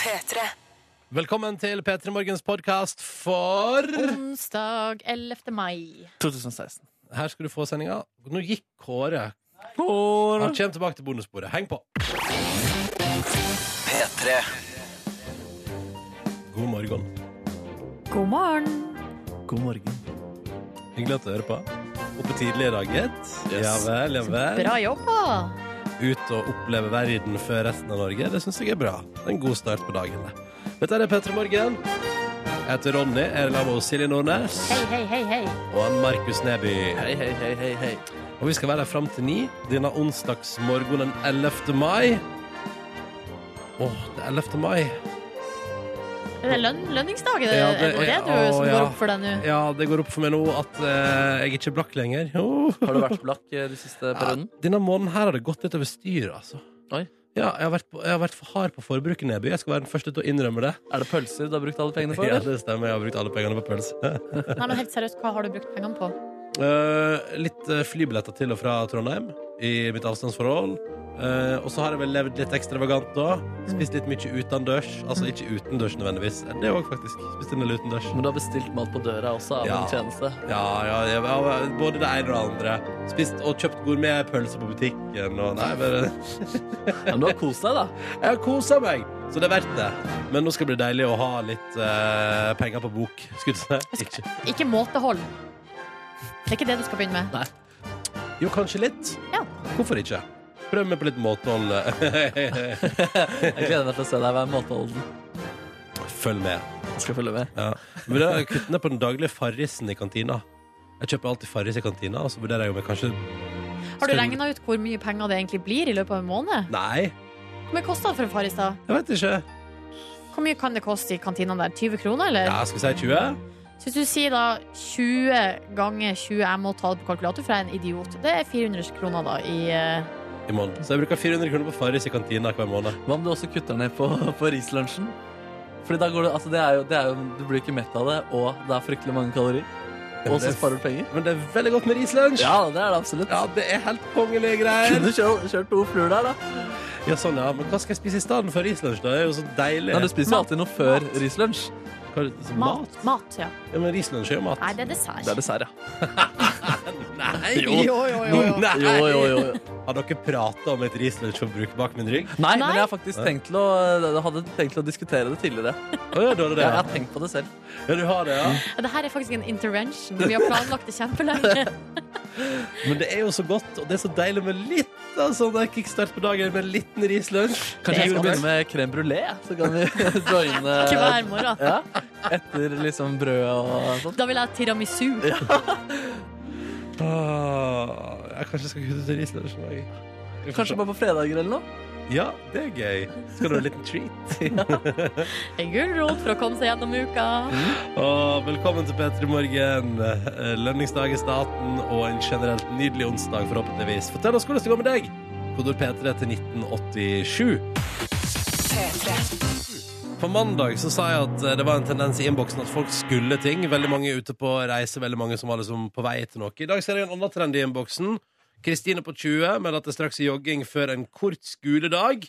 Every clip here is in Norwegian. P3. Velkommen til P3 Morgens podkast for Onsdag 11. mai. 2016. Her skal du få sendinga. Nå gikk Kåre. Kåre. Han kommer tilbake til bonussporet. Heng på. P3 God morgen. God morgen. God morgen. Hyggelig at du hører på. Oppe tidlig i dag, gitt. Yes. Ja vel, ja vel. Bra jobba. Ut og oppleve verden før resten av Norge. Det syns jeg er bra. Det er en god start på dagen. det. Dette er P3 Morgen. Jeg heter Ronny. Jeg er sammen med Silje Nordnes Hei, hei, hei, hei. og han Markus Neby. Hei, hei, hei, hei, hei. Og vi skal være her fram til ni denne onsdagsmorgenen 11. mai. Åh, det er 11. mai. Er det lønn, lønningsdag? Er det, Ja, ja, det det, er- du som å, ja. går opp for deg nå? Ja, det går opp for meg nå at eh, jeg er ikke blakk lenger. Oh. Har du vært blakk eh, de siste perioden? Denne måneden her har det gått litt over styr, altså. Oi. Ja, jeg har, vært på, jeg har vært for hard på forbruket, Neby. Jeg skal være den første til å innrømme det. Er det pølser du har brukt alle pengene for? Ja, eller? det stemmer. Jeg har brukt alle pengene på pølse. Nei, men helt seriøst, hva har du brukt pengene på? Eh, litt eh, flybilletter til og fra Trondheim i mitt avstandsforhold. Eh, og så har jeg vel levd litt ekstravagant da. Spist litt mye utendørs. Altså ikke utendørs nødvendigvis. Det òg, faktisk. Spist en del utendørs. Men du har bestilt mat på døra også av Ja. en tjeneste. Ja, ja, jeg, jeg, både det ene og det andre. Spist og kjøpt gourmetpølser på butikken og Nei, bare Ja, Men du har kost deg, da. Jeg har kosa meg, så det er verdt det. Men nå skal det bli deilig å ha litt eh, penger på bok. Skulle jeg si. Ikke. Ikke måtehold. Det er ikke det du skal begynne med. Jo, kanskje litt. Ja. Hvorfor ikke? Prøv meg på litt eh, måtehold. Jeg gleder meg til å se deg være måteholden. Følg med. Jeg skal følge med. Ja. Men da Kutt ned på den daglige farrisen i kantina. Jeg kjøper alltid farris i kantina, og så vurderer jeg om jeg kanskje Har du regna ut hvor mye penger det egentlig blir i løpet av en måned? Nei, Hvor mye kosta det for en far i stad? jeg vet ikke. Hvor mye kan det koste i kantina der? 20 kroner, eller? Ja, skal vi si 20? Så hvis du sier da 20 ganger 20, jeg må ta det på kalkulator, for jeg er en idiot. Det er 400 kroner da i eh, I måneden. Så jeg bruker 400 kroner på farris i kantina hver måned. Hva om du også kutter ned på, på rislunsjen? Fordi da går det, altså det er jo, det er jo, Du blir ikke mett av det, og det er fryktelig mange kalorier. Og så sparer du penger. Men det er veldig godt med rislunsj. Ja, det er det absolutt. ja, det er helt kongelige greier. Kunne kjørt, kjørt to fluer der, da. Ja, sånn, ja. Men hva skal jeg spise i stedet for rislunsj? da? Det er jo så deilig. Nei, du spiser jo alltid noe før rislunsj. Hva er det- så mat. mat? Mat, ja. Ja, men rislunsj er jo mat. Nei, det er dessert. Det er dessert, ja. Nei! Jo. jo, Nei. Jo, jo, jo, jo. Har dere prata om et rislunsjforbruk bak min rygg? Nei, Nei. men jeg har faktisk tenkt til å, jeg hadde tenkt til å diskutere det tidligere. Å ja, du har det, Jeg, jeg ja. har tenkt på det selv. ja. Du har det, ja. Ja, Det her er faktisk en intervention. Vi har planlagt det kjempelenge. Men det er jo så godt, og det er så deilig med litt av sånn der kickstart på dagen med en liten rislunsj. Kanskje jeg Det er skal godt. begynne med crème brulé, så kan vi joine Hver morgen. ja, etter liksom brød og sånt. Da vil jeg ha tiramisu. Ah, jeg kanskje skal kutte ut rislunsjen òg. Kanskje bare på fredager eller noe. Ja, det er gøy. Skal du ha en liten treat? En gulrot for å komme seg gjennom uka. Og velkommen til P3 Morgen. Eh, Lønningsdag i staten og en generelt nydelig onsdag, forhåpentligvis. Fortell oss hvordan det går med deg. Kodord P3 til 1987. På mandag så sa jeg at eh, det var en tendens i innboksen at folk skulle ting. Veldig mange ute på reise, veldig mange som var liksom på vei til noe. I dag ser jeg en annen trend i innboksen. Kristine på 20 melder at det straks er jogging før en kort skoledag.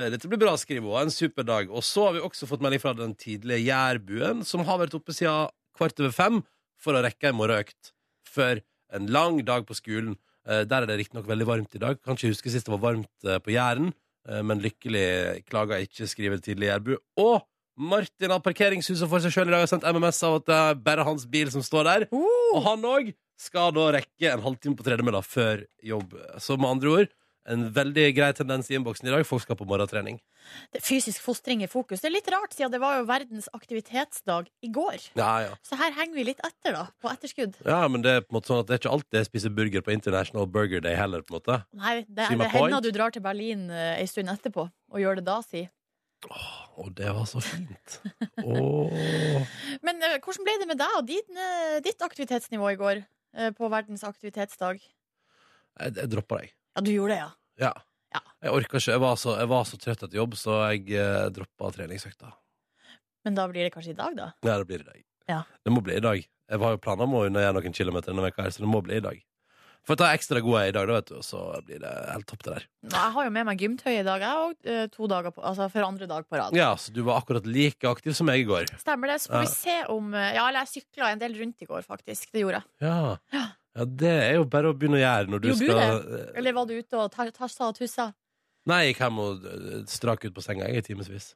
Eh, Dette blir bra, skriver hun. En super dag. Og så har vi også fått melding fra den tidlige jærbuen, som har vært oppe siden kvart over fem for å rekke ei morgenøkt før en lang dag på skolen. Eh, Der er det riktignok veldig varmt i dag. Kan ikke huske sist det var varmt eh, på Jæren, eh, men lykkelig klager ikke, skriver tidlig jærbu. Og Martin har parkeringshuset for seg sjøl i dag og har sendt MMS av at det er bare hans bil som står der. Oh, Og han òg skal da rekke en halvtime på tredemølla før jobb. Så med andre ord en veldig grei tendens i innboksen i dag. Folk skal på morgentrening. Det er fysisk fostring i fokus. Det er litt rart, siden det var jo verdens aktivitetsdag i går. Ja, ja. Så her henger vi litt etter, da. På etterskudd. ja, men det er på en måte sånn at det er ikke alltid jeg spiser burger på International Burger Day heller. på en måte Nei, det, See my det hender point? du drar til Berlin eh, ei stund etterpå og gjør det da, si. Å, det var så fint. Åh. Men eh, hvordan ble det med deg og din, eh, ditt aktivitetsnivå i går? eh, På verdens aktivitetsdag? Jeg, jeg droppa deg. Ja, du gjorde det, ja. Ja. Ja. Jeg orka ikke. Jeg var, så, jeg var så trøtt etter jobb, så jeg eh, droppa treningsøkta. Men da blir det kanskje i dag, da? Ja, det blir i dag. Ja. Det må bli i dag. Jeg har jo planer om å unna gjøre noen kilometer denne veka her, så det må bli i dag. Får ta ekstra gode i dag, da, vet du, og så blir det helt topp, det der. Nå, jeg har jo med meg gymtøy i dag, jeg òg, eh, to dager på- altså for andre dag på rad. Ja, så du var akkurat like aktiv som meg i går. Stemmer det. Så Ja. får vi se om eh, Ja, eller jeg sykla en del rundt i går, faktisk. Det gjorde jeg. Ja. ja, det er jo bare å begynne å gjøre når du Gjorde du skal Eller var du ute og ta- tassa og tussa? Nei, jeg gikk hjem og øh, strak ut på senga jeg, i timevis.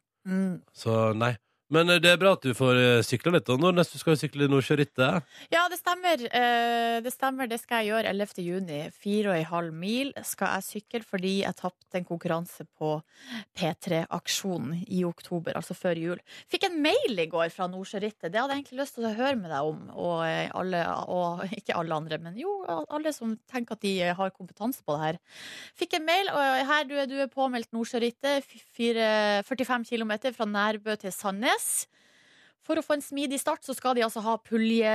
Så nei. Men øh, det er bra at du får øh, sykla litt. Og nå neste du skal jo sykle Nordsjørittet. Ja, det stemmer. Eh, Det stemmer, det skal jeg gjøre 11. juni. Fire og en halv mil skal jeg sykle fordi jeg tapte en konkurranse på P3-aksjonen i oktober, altså før jul. Fikk en mail i går fra Nordsjørittet. Det hadde jeg egentlig lyst til å høre med deg om. Og, eh, alle, og ikke alle andre, men jo, alle som tenker at de har kompetanse på det her. Fikk en mail, og her du er, du er påmeldt Nordsjørittet, fire- 45 km fra Nærbø til Sandnes. For å få en smidig start, så skal de altså ha pulje,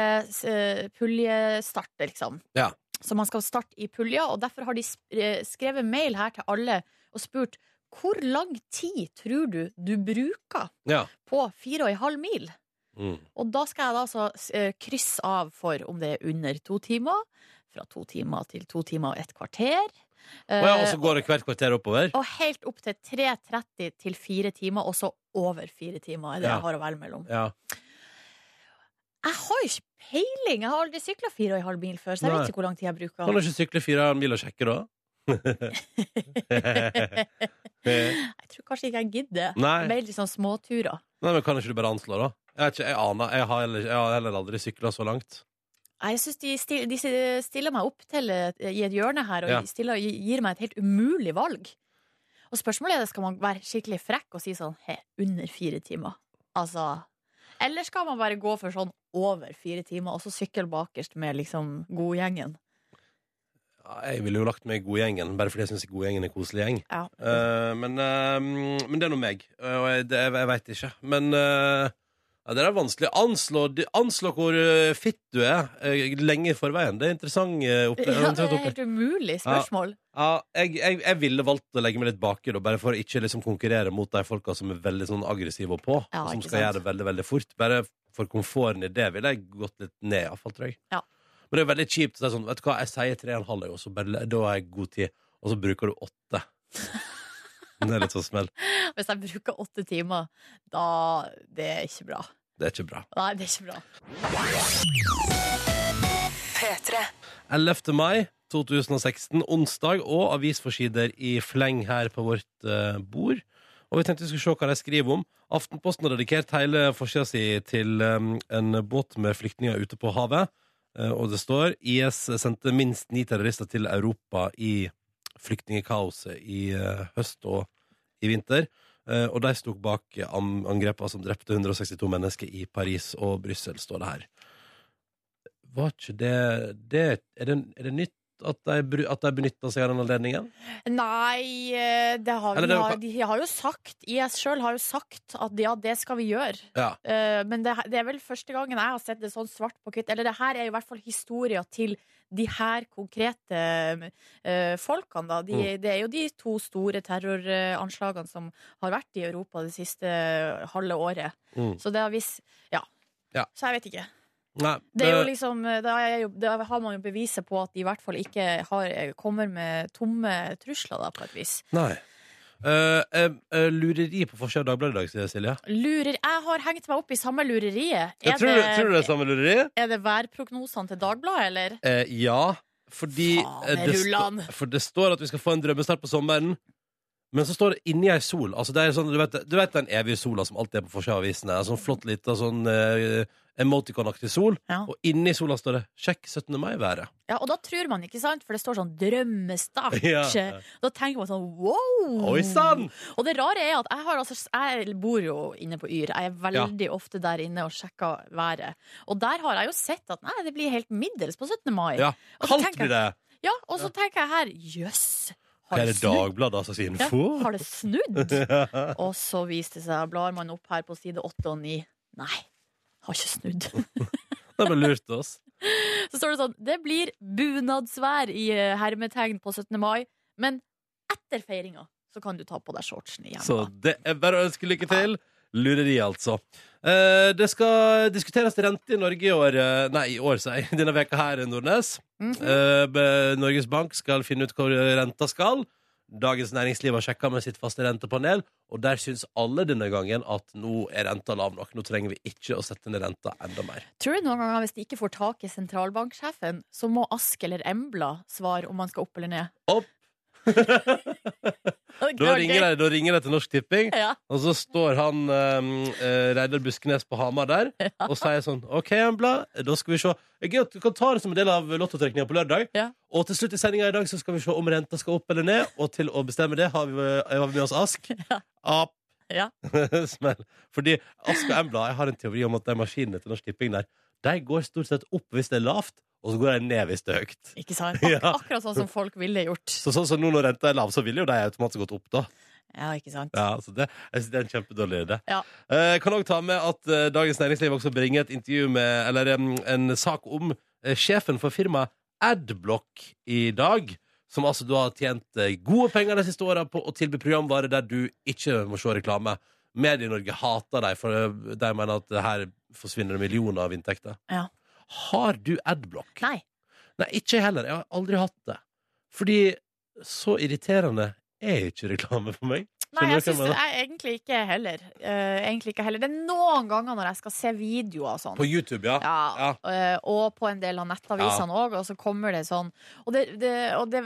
eh, puljestart, liksom. Ja. Så man skal starte i pulja, og derfor har de sp- eh, skrevet mail her til alle og spurt hvor lang tid tror du du bruker Ja. på fire og en halv mil? Mm. Og da skal jeg da altså s- eh, krysse av for om det er under to timer, fra to timer til to timer og et kvarter. Eh, Og ja, altså- og så går det hvert kvarter oppover. Og helt opp til 3.30 til 4 timer, og så over 4 timer. er Det Ja. jeg har å velge mellom. Ja. Jeg har jo ikke peiling! Jeg har aldri sykla 4,5 mil før, så jeg Nei. vet ikke hvor lang tid jeg bruker. Kan du ikke sykle fire mil og sjekke, da? Nei, Jeg tror kanskje ikke jeg gidder. Nei. Mer liksom småturer. men kan ikke du bare anslå, da? Jeg, vet ikke, jeg aner. Jeg har heller, jeg har heller aldri sykla så langt. Nei, Jeg syns de, stil, de stiller meg opp til et- i et hjørne her og Ja. stiller, gir meg et helt umulig valg. Og spørsmålet er skal man være skikkelig frekk og si sånn he, under fire timer. Altså Eller skal man bare gå for sånn over fire timer, og så sykle bakerst med liksom godgjengen? Ja, Jeg ville jo lagt meg i godgjengen, bare fordi jeg syns godgjengen er en koselig gjeng. Ja. Eh, men, eh, men det er nå meg, eh, og jeg, det, jeg, jeg veit ikke. Men eh, ja, det er vanskelig. Anslå, anslå hvor eh, fitt du er eh, lenge i forveien. Det er interessant eh, opple- ja, det interessant er opple- helt umulig spørsmål. Ja, jeg, jeg, jeg ville valgt å legge meg litt baki, da, bare for å ikke liksom konkurrere mot de folka som er veldig sånn aggressive og på, Ja, og som ikke skal sant. gjøre det veldig veldig fort. Bare for komforten i det ville jeg gått litt ned, iallfall, tror jeg. Ja. Men det er veldig kjipt. å si sånn, vet du hva, jeg sier tre og en halv, jeg, og så bare- da har jeg god tid, og så bruker du åtte. Det er litt sånn smell. Hvis jeg bruker åtte timer, da Det er ikke bra. Det er ikke bra. Nei, det er ikke bra. 11. mai 2016, onsdag, og avisforsider i fleng her på vårt eh, bord. Og vi tenkte vi skulle se hva de skriver om. Aftenposten har dedikert hele forsida si til em, en båt med flyktninger ute på havet. Eh, og det står IS sendte minst ni terrorister til Europa i flyktningkaoset i eh, høst og i vinter. Eh, og de sto bak an- angrepene som drepte 162 mennesker i Paris og Brussel, står det her var ikke det, det, er det Er det nytt at de, bru- at de benytta seg av den anledningen? Nei, eh, det har, Eller vi det- har, de har jo sagt IS sjøl har jo sagt at ja, det skal vi gjøre. Ja. Eh, Men det, det er vel første gangen jeg har sett det sånn svart på hvitt. Eller det her er i hvert fall historia til de her konkrete eh, folkene, da. De, Mm. Det er jo de to store terroranslagene som har vært i Europa det siste eh, halve året. Mm. Så det har visst Ja. Ja. Så jeg vet ikke. Nei. Det er jo eh, liksom, da, er jo, da har man jo beviset på at de i hvert fall ikke har, eh, kommer med tomme trusler, da, på et vis. nei. Eh, eh, eh, lureri på forsida av Dagbladet i dag, Silje. Lurer, jeg har hengt meg opp i samme lureriet. Jeg tror, det, tror du det er samme lureri? er det værprognosene til Dagbladet, eller? Eh, ja, fordi Faen, eh, det, rullan. sto- for det står at vi skal få en drømmestart på sommeren. Men så står det inni ei sol. Altså det er sånn, du, vet, du vet den evige sola som alltid er på forsida av avisene? Sånn flott lita sånn eh, emoticon-aktig sol. Ja. Og inni sola står det 'Sjekk 17. mai-været'. Ja, og da tror man, ikke sant? For det står sånn 'drømmestart'. Ja. Da tenker man sånn wow! Oi sann! Og det rare er at jeg, har, altså, jeg bor jo inne på Yr. Jeg er veldig ofte der inne og sjekker været. Og der har jeg jo sett at nei, det blir helt middels på 17. mai. Ja. Og så Kaldt tenker blir det. Ja, og så tenker jeg her Jøss! Hva har er det det snudd? Dagbladet altså sin Ja, info? har det snudd? Og så viste det seg, blar man opp her på side åtte og ni Nei, har ikke snudd. De har lurt oss. Så står det sånn Det blir bunadsvær i eh, hermetegn på 17. mai, men etter feiringa så kan du ta på deg shortsen igjen. Så det er bare å ønske lykke til. Lureri, altså. Eh, det skal diskuteres rente i Norge i år eh, Nei, i år, sier jeg. Denne veka her, Nordnes. Mhm. Eh, be- Norges Bank skal finne ut hvor renta skal. Dagens Næringsliv har sjekka med sitt faste rentepanel, og der syns alle denne gangen at nå er renta lav nok. Nå trenger vi ikke å sette ned renta enda mer. Tror du noen ganger hvis de ikke får tak i sentralbanksjefen, så må Ask eller Embla svare om man skal opp eller ned? Opp. Det Da var gøy. ringer de, da ringer de til Norsk Tipping, Ja. og så står han um, Reidar Buskenes på Hamar der og sier sånn OK, Embla, da skal vi se. Det er Gøy at du kan ta det som en del av lottotrekninga på lørdag. Ja. Og til slutt i sendinga i dag så skal vi se om renta skal opp eller ned, og til å bestemme det har vi, eh, har vi med oss Ask. Ap. Ja. Smell. Fordi Ask og Embla, jeg har en teori om at de maskinene til Norsk Tipping der, de går stort sett opp hvis det er lavt, og så går de ned hvis det er høyt. Ikke sant? Ja. Ak Akkurat sånn som folk ville gjort. Så sånn som nå når renta er lav, så ville jo de automatisk gått opp, da. Ja, ikke sant? Ja, altså det, jeg synes det er en kjempedårlig idé. Ja. Eh, kan også ta med at eh, Dagens Næringsliv også bringer et intervju med, eller em, en sak om eh, sjefen for firmaet Adblock i dag, som altså du har tjent eh, gode penger de siste årene på å tilby programvare der du ikke må se reklame. Medie-Norge hater deg, for eh, de mener at her forsvinner det millioner av inntekter. Ja. Har du Adblock? Nei. Nei, ikke jeg heller. Jeg har aldri hatt det. Fordi så irriterende er ikke reklame for meg. Skjønner du hva Nei, jeg jeg syns mener? det er egentlig ikke heller. Eh, egentlig ikke heller. Det er noen ganger når jeg skal se videoer og sånn. På YouTube, ja. Ja, eh, og på en del av nettavisene òg, og så kommer det sånn. Og, det, det, og, det,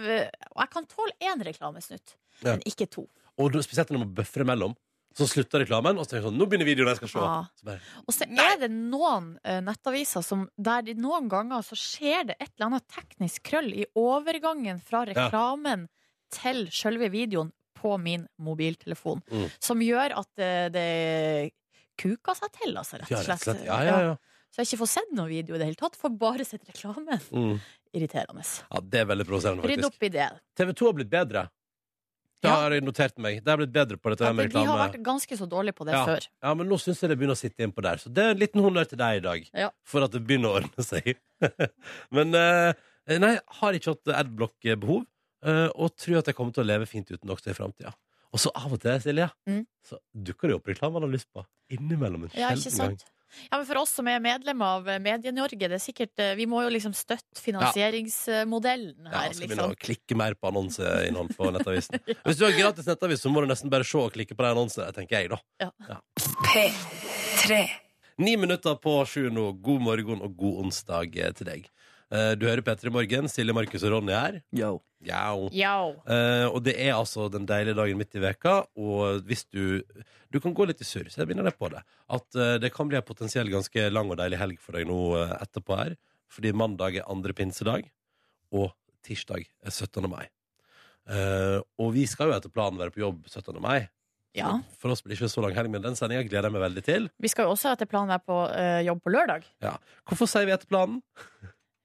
og jeg kan tåle én reklamesnutt, Ja. men ikke to. Og da- spesielt når man bøffer imellom. Så slutter reklamen, og så tenker jeg sånn Nå begynner videoen jeg skal se. Ja. Så bare, Og så er det noen eh, nettaviser som der de noen ganger så skjer det et eller annet teknisk krøll i overgangen fra reklamen til selve videoen på min mobiltelefon, Mm. som gjør at eh, det kuker seg til, altså, rett ja, og rett og slett. slett. Ja, ja, ja. Så jeg ikke får sett noen video i det hele tatt, får bare sett reklamen. Mm. Irriterende. ja, det er veldig provoserende, Rydd faktisk. opp i det. TV 2 har blitt bedre. Det Ja. har jeg notert meg. De har blitt bedre på dette Ja, med de har reklame. vært ganske så dårlige på det Ja. før. Ja, men nå syns jeg det begynner å sitte innpå der. Så det er en liten honnør til deg i dag. Ja. For at det begynner å ordne seg. men eh, nei, jeg har ikke hatt adblock-behov. eh, og tror at jeg kommer til å leve fint uten også i framtida. Og så av og til, Silje, Mm. så dukker det opp reklame man har lyst på. Innimellom en Ja, ikke sjelden gang. sant? Ja, men For oss som er medlem av eh, Medie-Norge, det er sikkert eh, Vi må jo liksom støtte finansieringsmodellen Ja, her, skal begynne liksom. å klikke mer på annonseinnhold på nettavisen. Hvis du har gratis nettavis, så må du nesten bare se og klikke på de annonsene, tenker jeg, da. Ja. Ni minutter på sju nå. God morgen og god onsdag eh, til deg. Eh, Du hører P3 Morgen. Silje, Markus og Ronny her. Yo. Jau. Ja. Eh, og det er altså den deilige dagen midt i veka Og hvis du Du kan gå litt i surr, så jeg begynner deg på det At eh, det kan bli en potensiell ganske lang og deilig helg For deg nå eh, etterpå her Fordi mandag er andre pinsedag Og tirsdag er 17. mai Eh, Og vi skal jo etter planen være på jobb 17. mai ja. For oss blir det ikke så lang helg Men den sendingen gleder jeg meg veldig til Vi skal jo også etter planen være på eh, jobb på lørdag. Hvorfor sier vi etter planen?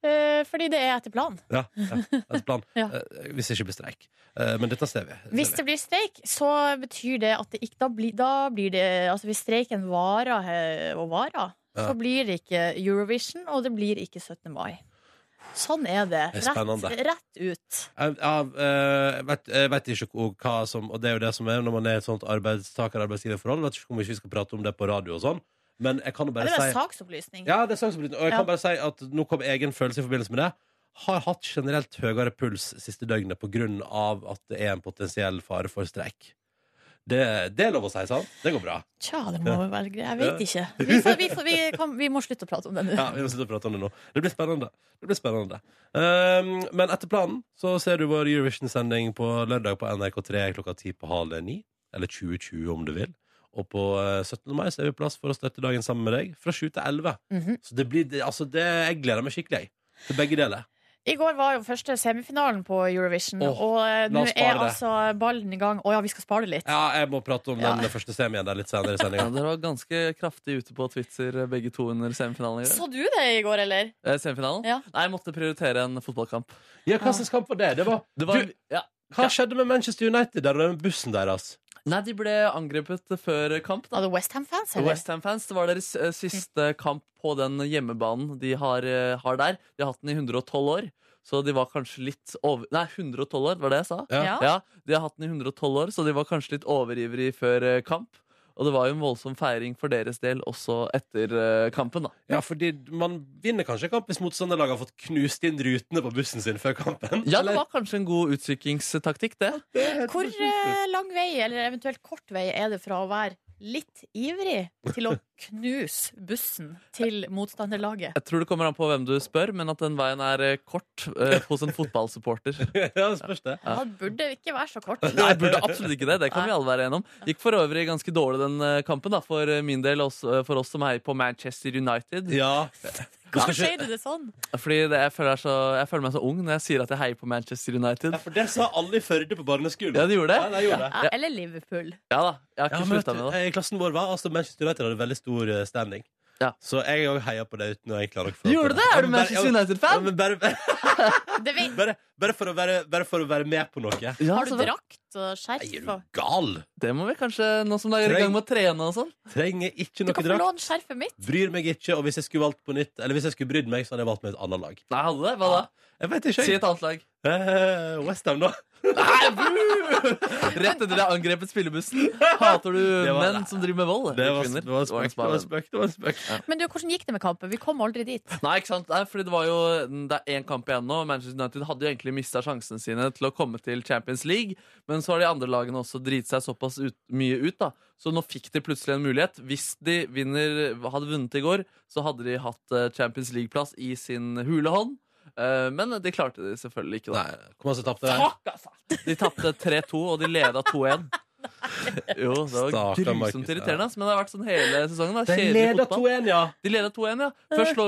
Eh, fordi det er etter planen. Ja, ja etter planen Ja. Eh, Hvis det ikke blir streik Eh, Men dette ser vi Hvis det blir streik, så betyr det at det ikke Da blir, da blir det Altså, hvis streiken varer eh, og varer, Ja. så blir det ikke Eurovision, og det blir ikke 17. mai. Sånn er det. Det er Rett, spennende. rett ut. Jeg, jeg, eh, jeg, vet, jeg vet ikke hvor- hva som Og det er jo det som er når man er i et sånt arbeidstaker-arbeidsgiverforhold. Jeg Vet ikke hvor mye vi skal prate om det på radio og sånn, men jeg kan jo bare Det var si en saksopplysning. Ja, det er saksopplysning. Og jeg Ja. kan bare si at nå kom egen følelse i forbindelse med det. Har hatt generelt høyere puls siste døgnet på grunn av at det er en potensiell fare for streik. Det, det er lov å si, sant? Det går bra. Tja, det må vel være greit. Jeg vet ikke. Vi, får, vi, får, vi, kan, vi må slutte å prate om det nå. Ja, vi må slutte å prate om det nå. Det blir spennende. Det blir spennende. Ehm, men etter planen så ser du vår Eurovision-sending på lørdag på NRK3 klokka ti på halv ni. Eller 2020 om du vil. Og på eh, 17. mai så er vi plass for å støtte dagen sammen med deg fra 7 til 11. Mhm. Så det blir, det- altså det, jeg gleder meg skikkelig jeg, til begge deler. I går var jo første semifinalen på Eurovision, Åh, og eh, la nå oss spare er det. altså ballen i gang. Å ja, vi skal spare det litt. Ja, jeg må prate om Ja. den første semien der litt senere i Ja, sendinga. dere var ganske kraftig ute på Twitter, begge to, under semifinalen. i går. Så du det i går, eller? Eh, semifinalen? Ja. Nei, jeg måtte prioritere en fotballkamp. Ja, hva slags kamp var det? det, var, Det var, du, ja. hva skjedde med Manchester United der og den bussen deres? Nei, de ble angrepet før kamp. Da. Var det Westham-fans, eller? West Ham-fans, Det var deres eh, siste kamp på den hjemmebanen de har, eh, har der. De har hatt den i 112 år, så de var kanskje litt over... Nei, 112 år, var det jeg sa? Ja. Ja. Ja, De har hatt den i 112 år, så de var kanskje litt overivrig før eh, kamp. Og det var jo en voldsom feiring for deres del også etter eh, kampen, da. Ja, fordi man vinner kanskje kamp hvis motstanderlaget har fått knust inn rutene på bussen sin før kampen. Ja, det var kanskje en god utsykingstaktikk, det. Hvor eh, lang vei, eller eventuelt kort vei, er det fra å være litt ivrig til å knuse bussen til motstanderlaget? Jeg tror det kommer an på hvem du spør, men at den veien er eh, kort eh, hos en fotballsupporter. ja, det spørs det. Ja. Han burde ikke være så kort. Nei, burde absolutt ikke det. Det kan vi alle være enige om. Gikk for øvrig ganske dårlig den eh, kampen, da, for eh, min del, også, eh, for oss som heier på Manchester United. Ja. Hva sier du det sånn? Fordi det, jeg, føler jeg så, jeg føler meg så ung når jeg sier at jeg heier på Manchester United. Ja, for det sa alle i Førde på barneskolen. Ja, de gjorde Ja, det? de gjorde det. Ja, eller Liverpool. Ja da. Jeg Ja, har ikke men slutta med det. vet du, I klassen vår var altså Manchester United hadde veldig stor eh, standing. Ja. Så jeg òg heia på det uten å egentlig ha noe for Gjorde du det? Ja, men Er du bare- Manchester ja, Ja, United-fan? men bare, Det vet, bare, bare, for å være, bare for å være med på noe. Nei, Ja, har du så bra. drakt og Er skjerf? du og- gal? Det må vi kanskje, nå som det er i gang med å trene og sånn. Trenger ikke Du noe kan få drakt. låne skjerfet mitt. Bryr meg ikke, og hvis jeg skulle valgt på nytt Eller hvis jeg skulle brydd meg, så hadde jeg valgt meg et annet lag. Nei, hadde det? Hva da? Jeg vet ikke, Si jeg. et annet lag. Eh, Westham, da. Rett etter det angrepet spillebussen. Hater du Det var- menn som driver med vold? Det var, Kvinner? det var en spøk. Det var en spøk, det var en spøk. Men du, hvordan gikk det med kampen? Vi kom aldri dit. Nei, ikke sant? Nei, fordi det var jo mm, Det er én kamp igjen nå. og Manchester United hadde jo egentlig mista sjansene sine til å komme til Champions League, men så har de andre lagene også driti seg såpass ut, mye ut, da. Så nå fikk de plutselig en mulighet. Hvis de vinner, hadde vunnet i går, så hadde de hatt eh, Champions League-plass i sin hulehånd. Eh, Men de klarte det selvfølgelig ikke, da. Nei, kom an, så tapte jeg. Fuck, altså! De tapte 3-2, og de leda 2-1. Jo, det var Stakkar Markus, grusomt irriterende, ass, men det har vært sånn hele sesongen. da De Kjedelig leder fotball. 2-1, ja. De leda 2-1, ja. Først lå,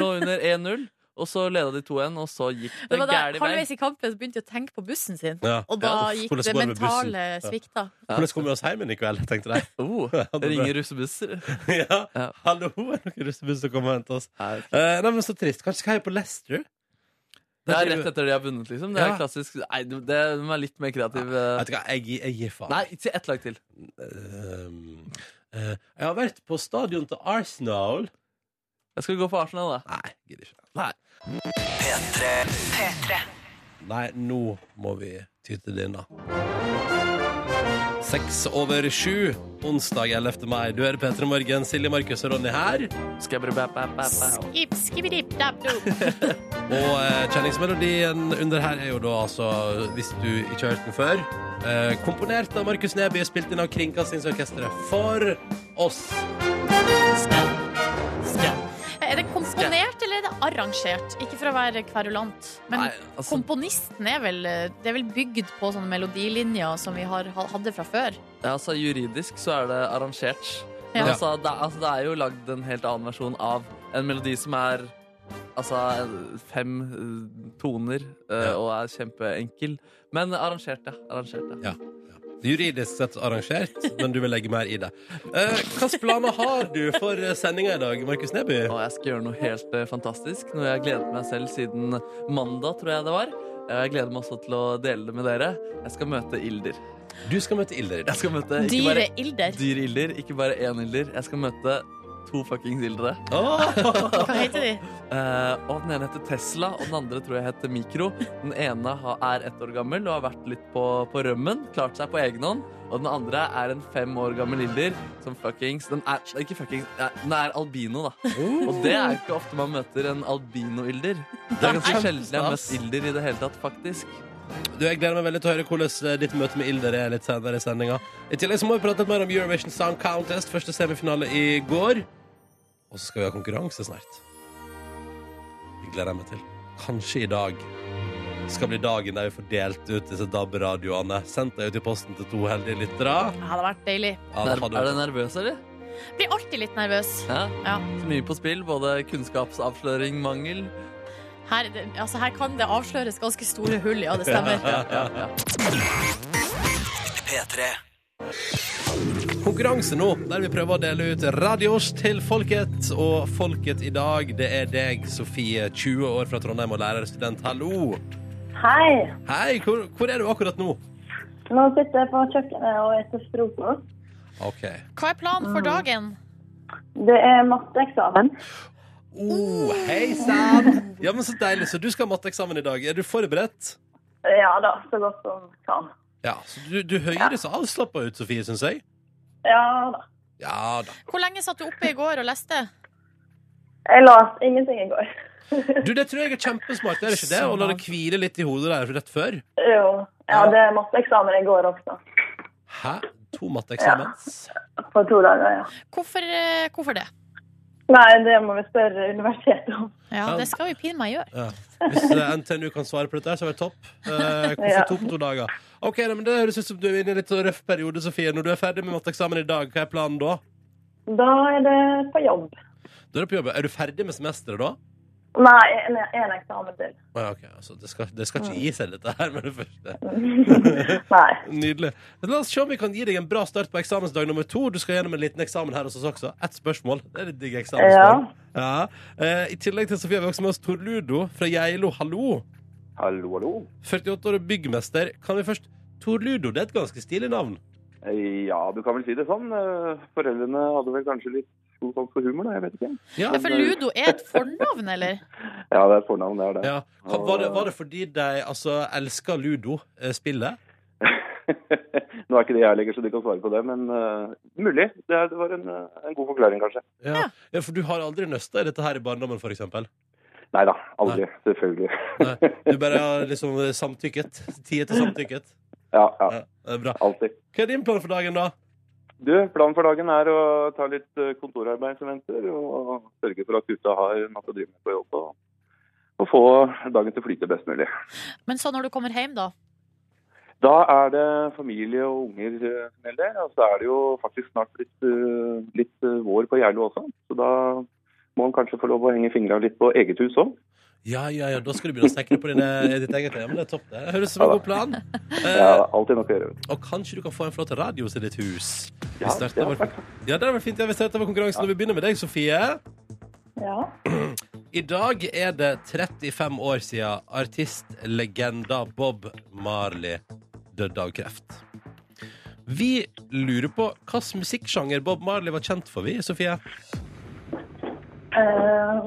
lå under 1-0, og så leda de 2-1, og så gikk Det det var da, gæren vei. halvveis i kampen så begynte jeg å tenke på bussen sin. ja. Og da Uff, gikk hvordan det går med bussen? mentale svikta. Ja. Hvordan kommer vi oss hjem igjen i kveld, tenkte de. Oh, Ja, det det ble- ringer russebusser. ja. Ja. Hallo, er det noen russebuss som kommer og henter oss? Nei, Eh, nei, men så trist. Kanskje skal jeg på Leicester? Det er rett etter de har vunnet, liksom. Det er Ja. klassisk Nei, du- det, de er litt mer kreative. Vet du hva, jeg, gir- jeg gir faen. Nei, si ett lag til. Ehm, eh, jeg har vært på stadion til Arsenal. Jeg skal gå for Arsenal, da. Nei, gidder ikke. Nei. Nei, nå må vi ty til denne. Seks over sju, onsdag 11. mai. Du hører P3 Morgen. Silje, Markus og Ronny her. Skal jeg bare bæ, bæ, bæ, bæ. Skip, skibidip, dab, do. Og eh, kjenningsmelodien under her er jo da altså, hvis du ikke har hørt den før, eh, komponert av Markus Neby, spilt inn av Kringkastingsorkesteret for oss. Er det komponert eller er det arrangert? Ikke for å være kverulant, men Nei, altså, komponisten er vel, det er vel bygd på sånne melodilinjer som vi har, hadde fra før. ja, altså, juridisk så er det arrangert. Men Ja. altså, det, altså, det er jo lagd en helt annen versjon av en melodi som er Altså fem eh, toner eh, Ja. og er kjempeenkel. Men arrangert, ja. Arrangert, ja. Juridisk sett arrangert, men du vil legge mer i det. Eh, Hvilke planer har du for sendinga i dag, Markus Neby? Og jeg skal gjøre noe helt eh, fantastisk. Noe jeg har gledet meg selv siden mandag, tror jeg det var. Eh, Jeg gleder meg også til å dele det med dere. Jeg skal møte ilder. Du skal møte Ilder i dag. Jeg skal møte ikke Dyre bare ilder. dyr ilder, ikke bare én ilder. Jeg skal møte to fuckings ildere. Åh! Hva heter de? Eh, og Den ene heter Tesla, og den andre tror jeg heter Mikro. Den ene har- er ett år gammel og har vært litt på, på rømmen. Klart seg på egen hånd. Og den andre er en fem år gammel ilder som fuckings Den er ikke fuckings, nei, den er albino, da. Og det er ikke ofte man møter en albino-ilder. Det er ganske sjelden jeg har møtt ilder i det hele tatt, faktisk. Du, Jeg gleder meg veldig til å høre hvordan eh, ditt møte med Ilder er litt senere i sendinga. I tillegg så må vi prate litt mer om Eurovision Sound Contest, første semifinale i går. Og så skal vi ha konkurranse snart. Det gleder jeg meg til. Kanskje i dag skal bli dagen der vi får delt ut disse DAB-radioene. Sendt deg ut i posten til to heldige lyttere. Ja, det hadde vært deilig. Ja, Er, det er hadde vært- du nervøs, eller? Blir alltid litt nervøs. Ja. Ja. Så mye på spill. Både kunnskapsavsløring, mangel Her, det- altså, her kan det avsløres ganske store hull, ja, det stemmer. ja, ja. konkurranse nå, der vi prøver å dele ut radios til folket. Og folket i dag, det er deg, Sofie, 20 år fra Trondheim og lærerstudent. Hallo. Hei. Hei, hvor, hvor er du akkurat nå? Nå sitter jeg på kjøkkenet og spiser frokost. OK. Hva er planen for dagen? Det er matteeksamen. Oh, Hei sann! Ja, men så deilig. Så du skal ha matteeksamen i dag. Er du forberedt? Ja da, så godt som kan. Ja, så Du, du høres avslappa ut, Sofie, syns jeg. Ja da. Ja da. Hvor lenge satt du oppe i går og leste? Jeg leste ingenting i går. Du, det tror jeg er kjempesmart, er det ikke det? Å la det hvile litt i hodet der rett før. Jo. Ja, det er matteeksamen i går også. Hæ? To matteeksamen? På to dager, ja. Hvorfor, eh, hvorfor det? Nei, det må vi spørre universitetet om. Ja, det skal vi pine meg gjøre. Ja. Hvis eh, NTNU kan svare på dette, her, så er det topp. Eh, hvorfor Ja. to på to dager? Ok, nei, men Det høres ut som du er inne i en litt sånn røff periode, Sofie. Når du er ferdig med matteeksamen i dag, hva er planen da? Da er det på jobb. Da Er du på jobb. Er du ferdig med semesteret da? Nei, en, en eksamen til. Å ja, ok, altså, det, skal, det skal ikke gi seg, dette her med det første. Nei. Nydelig. Men La oss se om vi kan gi deg en bra start på eksamensdag nummer to. Du skal gjennom en liten eksamen her hos oss også. Ett spørsmål. Det er litt digg eksamensdag. Ja. Eh, I tillegg til Sofie har vi også med oss Tor Ludo fra Geilo. Hallo. Hallo, hallo. 48 år og byggmester. Kan vi først Tor Ludo, det er et ganske stilig navn. Eh, Ja, du kan vel si det sånn. Eh, Foreldrene hadde vel kanskje litt god sans for humor, da. Jeg vet ikke. Ja. Ja, for Ludo er et fornavn, eller? Ja, det er fornavn, det er det. Ja. Hva- Var, det, var det fordi de altså, elsker Ludo, eh, spillet? Nå er ikke det jeg lenger, så du kan svare på det, men eh, mulig. Det, er, det var en, eh, en god forklaring, kanskje. Ja. ja, for du har aldri nøsta i dette her i barndommen, for eksempel? Nei da, aldri. Selvfølgelig. Nei. Du bare har liksom eh, samtykket? Tiet til samtykket? Ja, ja. Ja, det er bra. Alltid. Hva er din plan for dagen, da? Du, planen for dagen er å ta litt eh, kontorarbeid som venter, og sørge for at gutta har masse å drive med på jobb, og, og få dagen til å flyte best mulig. Men så når du kommer hjem, da? Da er det familie og unger eh, som gjelder. Og så er det jo faktisk snart blitt eh, litt eh, vår på Geilo også. Så da må man kanskje få lov å henge fingra litt på eget hus òg. Ja, ja, ja, da skal du begynne å snekre på dine, ditt eget hjem. Det er topp, det. Høres ut som en Ja da. god plan. Ja, Eh, alltid noe å gjøre. vet du. og kanskje du kan få en flott radio til ditt hus. Vi Ja, starter det var vår- ja, det er vel fint. Jeg vil starte over konkurransen, og vi begynner med deg, Sofie. Ja. I dag er det 35 år siden artistlegenda Bob Marley døde av kreft. Vi lurer på hvilken musikksjanger Bob Marley var kjent for, vi, Sofie. Eh,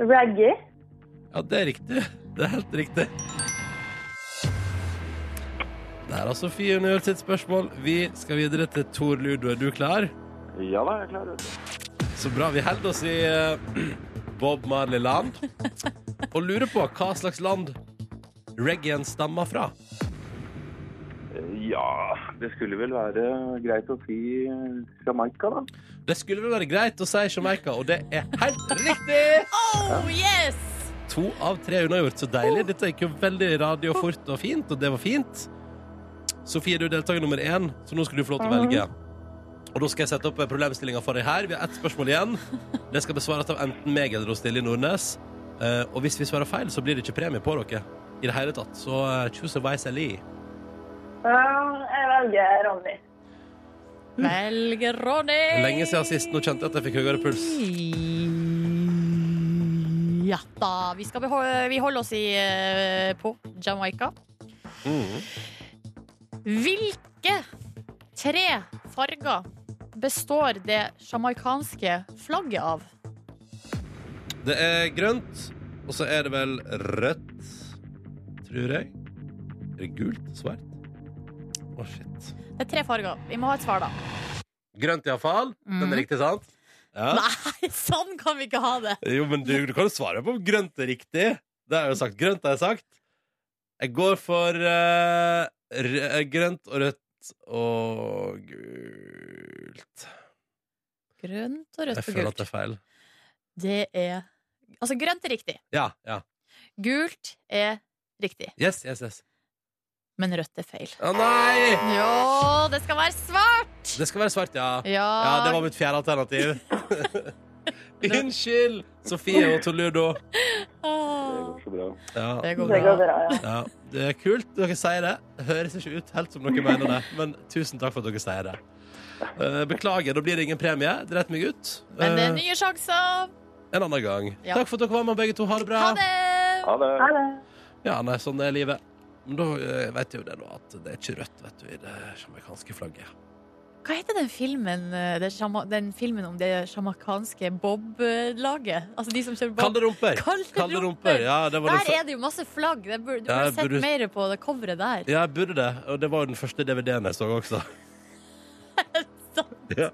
reggae? Ja, det er riktig. Det er helt riktig. Der har Sofie undergjort altså sitt spørsmål. Vi skal videre til Tor Ludo. Er du klar? Ja da, jeg er klar. vet du. Så bra. Vi holder oss i eh, Bob Marley-land og lurer på hva slags land reggaen stammer fra. Eh, Ja, det skulle vel være greit å si eh, Jamaica, da. Det skulle vel være greit å si Jamaica, og det er helt riktig! Oh, yes! To av tre unnagjort. Så deilig. Dette gikk jo veldig radio fort og fint, og det var fint. Sofie, du er deltaker nummer én, så nå skal du få lov til å velge. Og da skal jeg sette opp problemstillinga for deg her. Vi har ett spørsmål igjen. Det skal besvares av enten meg eller hos Silje Nordnes. Eh, og hvis vi svarer feil, så blir det ikke premie på dere i det hele tatt. Så eh, choose wisely. Ja, jeg velger Ronny. Velg Ronny. Lenge siden sist. Nå kjente jeg at jeg fikk høyere puls. Ja da. Vi, skal beholde, vi holder oss i, eh, på Jamaica. Mm. Hvilke tre farger består det jamaicanske flagget av? Det er grønt, og så er det vel rødt, tror jeg. Er det gult? Svart? Å, shit. Det er tre farger. Vi må ha et svar, da. Grønt, iallfall. Mm. Den Mhm. er riktig, sant? Ja. Nei, sånn kan vi ikke ha det! Jo, men du, du kan jo svare på om grønt er riktig. Det har jeg jo sagt. Grønt har jeg sagt. Jeg går for eh, rø- grønt og rødt og gult. Grønt og Jeg rødt og føler at gult. det er feil. Det er Altså, grønt er riktig. Ja. ja. Gult er riktig. Yes, yes, yes. Men rødt er feil. Å nei! Jo, det skal være svart! Det skal være svart, ja. Ja, Ja, det var mitt fjerde alternativ. Unnskyld! Sofie og Toledo. Det Åh, går så bra. Ja. det går Det går bra. bra, ja. ja. Det er kult dere sier det. Høres ikke ut helt som dere mener det, men tusen takk for at dere sier det. Eh, Beklager, da blir det ingen premie. Dreit meg ut. Men det er Eh, nye sjanser. En annen gang. Ja. Takk for at dere var med, begge to. Ha det bra. Ha det! Ha det. Ha det. Ja, nei, sånn er livet. Men da eh, vet jeg jo det nå, at det er ikke rødt vet du, i det jamaicanske flagget. Hva heter den filmen, eh, den, sjama- den filmen om det sjamakanske bob-laget? Altså de som kjører bob? Kalde rumper! Kalde Kalde rumper. rumper, ja, det var den Der fø- er det jo masse flagg. Det burde, du Ja, burde sett burde- mer på det coveret der. Ja, jeg burde det. Og det var jo den første DVD-en jeg så også. Sant. ja.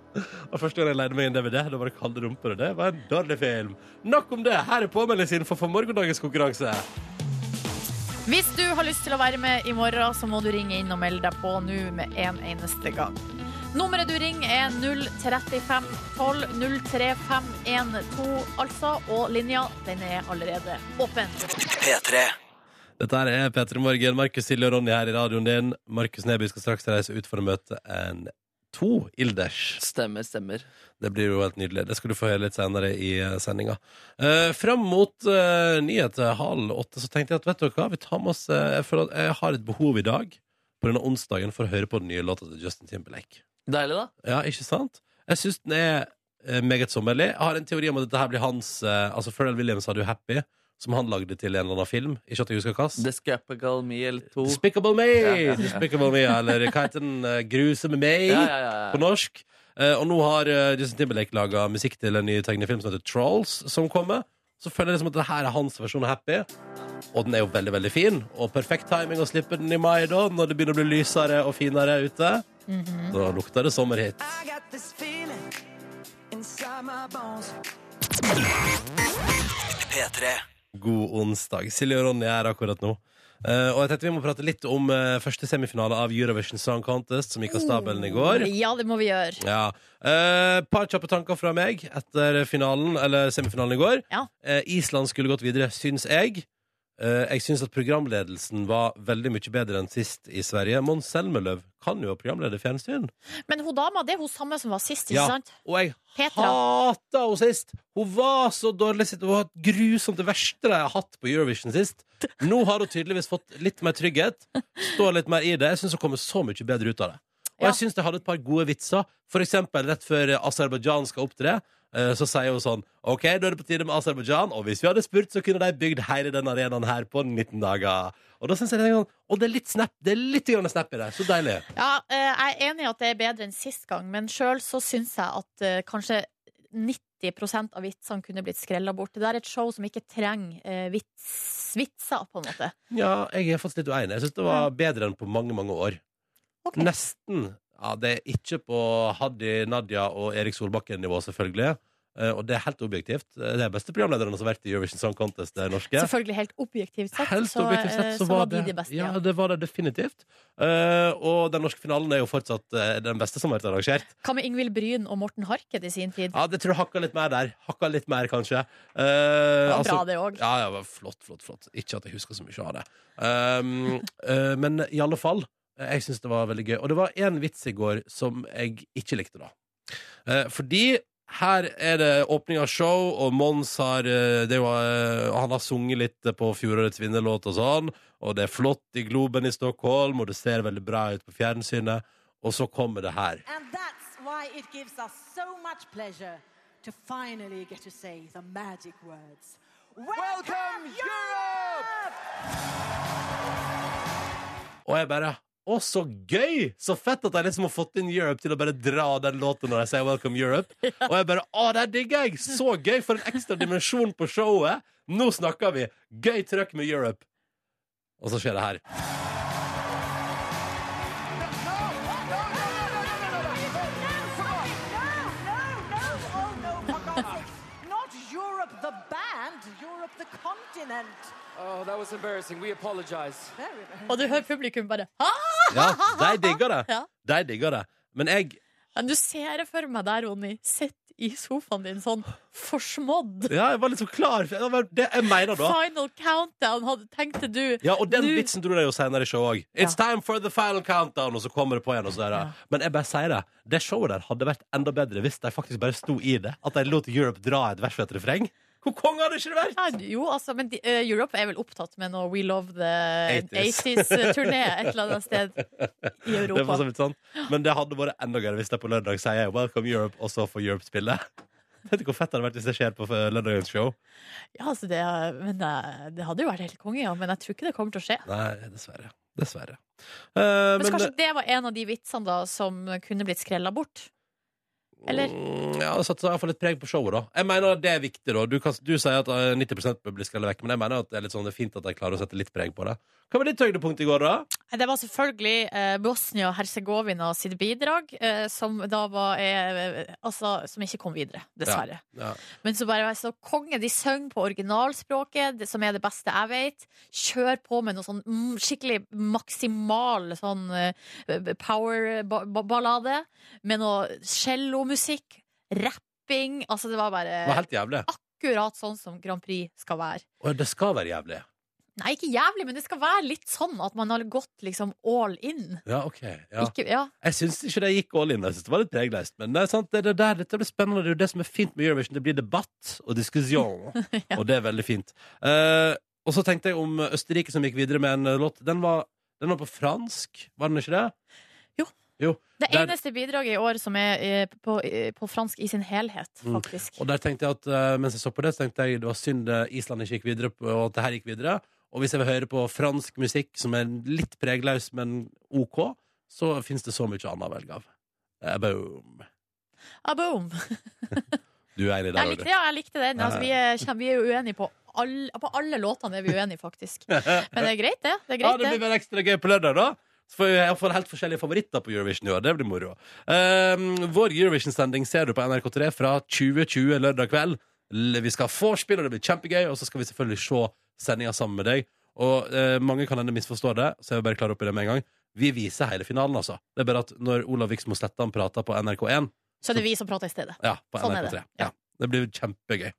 Og første gang jeg leide meg en DVD, da var det kalde rumper, og det var en dårlig film. Nok om det. Her er påmeldingsinfo for morgendagens konkurranse. Hvis du har lyst til å være med i morgen, så må du ringe inn og melde deg på nå med en eneste gang. Nummeret du ringer er 03512 03512, altså, og linja den er allerede åpen. Dette her er P3 Morgen. Markus Silje og Ronny her i radioen din. Markus Neby skal straks reise ut for å møte en to ilders. Stemmer, stemmer. Det blir jo helt nydelig. Det skal du få høre litt senere i eh, sendinga. Uh, fram mot eh, nyheter halv åtte så tenkte jeg at vet dere hva, vi tar med oss eh, Jeg føler at jeg har et behov i dag på denne onsdagen for å høre på den nye låta til Justin Timberlake. Deilig, da. Ja, ikke sant? Jeg syns den er eh, meget sommerlig. Jeg har en teori om at dette her blir hans eh, Altså, Pharrell Williams hadde jo Happy, som han lagde til en eller annen film. Ikke at jeg husker hva. Descapical Me eller to. Despicable Me! Ja, ja, ja. Despicable Me, eller hva heter den? eh, Gruse med meg, Ja, ja, ja, ja. på norsk. Eh, og nå har eh, Justin Timberlake laga musikk til en ny tegnefilm som heter Trolls, som kommer. Så føler jeg liksom at det her er hans versjon av Happy. Og den er jo veldig veldig fin. Og perfekt timing å slippe den i mai, da, når det begynner å bli lysere og finere ute. Da lukter det sommerhit. I got this feeling inside my bones. God onsdag. Silje og Ronny er akkurat nå. Eh, og jeg tenkte vi må prate litt om eh, første semifinale av Eurovision Song Contest, som gikk av stabelen i går. Ja, det må vi gjøre. Ja. Eh, par kjappe tanker fra meg etter finalen, eller semifinalen i går. Ja. Eh, Island skulle gått videre, syns jeg. Eh, jeg syns at programledelsen var veldig mye bedre enn sist i Sverige. Mons Selmelöv kan jo programlede fjernsyn. Men hun dama, det er hun samme som var sist, ikke Ja. sant? Og jeg Petra. hata henne sist! Hun var så dårlig sist. Hun var grusomt det verste de har hatt på Eurovision sist. Nå har hun tydeligvis fått litt mer trygghet. Står litt mer i det. Jeg syns hun kommer så mye bedre ut av det. Og Ja. jeg syns de hadde et par gode vitser. For eksempel rett før Aserbajdsjan skal opptre. eh, Så sier hun sånn OK, da er det på tide med Aserbajdsjan. Og hvis vi hadde spurt, så kunne de bygd hele den arenaen her på 19 dager. Og da synes jeg det er sånn Og det er litt snap. Det er litt grann snap i det. Så deilig. Ja, eh, jeg er enig i at det er bedre enn sist gang, men sjøl så syns jeg at eh, kanskje 90 av vitsene kunne blitt skrella bort. Det er et show som ikke trenger eh, vits, vitser, på en måte. Ja, jeg er faktisk litt uenig. Jeg syns det var bedre enn på mange, mange år. Ok. Nesten. Ja, det er ikke på Haddy, Nadia og Erik Solbakken-nivå, selvfølgelig. Eh, Og det er helt objektivt. Eh, Det er de beste programlederne som har vært i Eurovision Song Contest, det norske. Selvfølgelig helt objektivt sett, Helt så, objektivt sett eh, så var det de de beste. Ja, Ja. det var det definitivt. Eh, og den norske finalen er jo fortsatt eh, den beste som har vært arrangert. Hva med Ingvild Bryn og Morten Harket i sin tid? Ja, det tror jeg hakka litt mer der. Hakka litt mer, kanskje. Eh, det var altså- bra, det òg. Ja, ja, flott, flott, flott. Ikke at jeg husker så mye av det. Um, eh, men i alle fall, eh, jeg syns det var veldig gøy. Og det var én vits i går som jeg ikke likte, da. Eh, fordi her er det åpning av show, og Mons har eh, det var, Han har sunget litt på fjorårets vinnerlåt og sånn, og det er flott i Globen i Stockholm, og det ser veldig bra ut på fjernsynet, og så kommer det her. And that's why it gives us so much pleasure to finally get to say the magic words. Welcome, Europe! Og jeg bare Å, så gøy! Så fett at de liksom har fått inn Europe til å bare dra den låten når de sier Welcome Europe. Og jeg bare Å, det digger jeg! Så gøy! For en ekstra dimensjon på showet! Nå snakker vi! Gøy trøkk med Europe. Og så skjer det her. Oh, Not Europe the band, Europe the continent. Oh, that was embarrassing. We apologize. Very, very Og du hører publikum bare Hæ? Ja, de digger det. Ja. De digger det. Men jeg Men du ser det for meg der, Ronny. Sitt i sofaen din sånn forsmådd. Ja, jeg var liksom klar. for- Det var det jeg mener da. Final countdown, hadde, tenkte du. Ja, og den Nå- vitsen dro de jo senere i showet òg. It's time for the final countdown, og så kommer det på igjen. Og så er det. Men jeg bare sier det. Det showet der hadde vært enda bedre hvis de faktisk bare sto i det. At de lot Europe dra et vers og et refreng. Hvor konge hadde ikke det vært? Ja, jo, altså, men de, eh, Europe er vel opptatt med noe We Love the 80s. 80s-turné et eller annet sted i Det var sånn- Europa. så vidt sant. Men det hadde vært enda gøyere hvis de på lørdag sier 'Welcome Europe', og så får Europe spille. Vet du hvor fett det hadde vært hvis det skjer på eh, lørdagens show? Ja, altså, det, men, eh, det hadde jo vært helt konge, ja, men jeg tror ikke det kommer til å skje. Nei, dessverre. Dessverre. Eh, Men kanskje det var en av de vitsene da som kunne blitt skrella bort? Eller? Mm, Ja, det satte i hvert fall litt preg på showet, da. Jeg mener at det er viktig, da. Du, kan, du sier at eh, 90 bør bli skrellet vekk, men jeg mener at det er litt sånn det er fint at de klarer å sette litt preg på det. Hva var ditt høydepunkt i går, da? Nei, Det var selvfølgelig eh, Bosnia-Hercegovina sitt bidrag, eh, som da var eh, Altså, som ikke kom videre, dessverre. Ja. Men så bare så konge, de søng på originalspråket, det som er det beste jeg vet. Kjør på med noe sånn mm, skikkelig maksimal sånn power-ballade med noe cellomusikk, rapping. Altså, det var bare Det var helt jævlig. akkurat sånn som Grand Prix skal være. Og det skal være jævlig. Nei, ikke jævlig, men det skal være litt sånn at man har gått liksom all in. Ja, OK. Ja. Ikke, ja. Jeg syns ikke det gikk all in. Jeg synes det var litt pregleist. Men det er sant, det er det der, dette blir spennende. Det er jo det som er fint med Eurovision. Det blir debatt og diskusjon, og det er veldig fint. Eh, og så tenkte jeg om Østerrike som gikk videre med en eh, låt. Den var, den var på fransk, var den ikke det? Jo. jo. Det Der- eneste bidraget i år som er eh, på, eh, på fransk i sin helhet, Mm. faktisk. Og der tenkte jeg at eh, mens jeg så på det, så tenkte jeg det var synd eh, Island ikke gikk videre, på- og at det her gikk videre. Og hvis jeg vil høre på fransk musikk som er litt pregløs, men OK, så fins det så mye annet å velge av. Eh, boom. Ah, boom! Du er enig der, Jeg likte, ja, jeg likte den. Altså, vi, er, kjem- vi er jo uenige på alle, på alle låtene, er vi uenige, faktisk. Odd. Men det er greit, det. det, er Ja, greit, det blir vel ekstra gøy på lørdag, da. Så får jeg får helt forskjellige favoritter på Eurovision i år. Det blir moro. Ehm, vår Eurovision-sending ser du på NRK3 fra 2020 lørdag kveld. L- Vi skal ha vorspiel, og det blir kjempegøy. Og så skal vi selvfølgelig se sendinga sammen med deg. Og eh, mange kan hende misforstå det, så jeg vil bare klare opp i det med en gang. Vi viser hele finalen, altså. Det er bare at når Olav Viksmo Slettan prater på NRK1 Så er det vi som prater i stedet. Ja, på Sånn er NRK3. det. Ja. Det blir kjempegøy.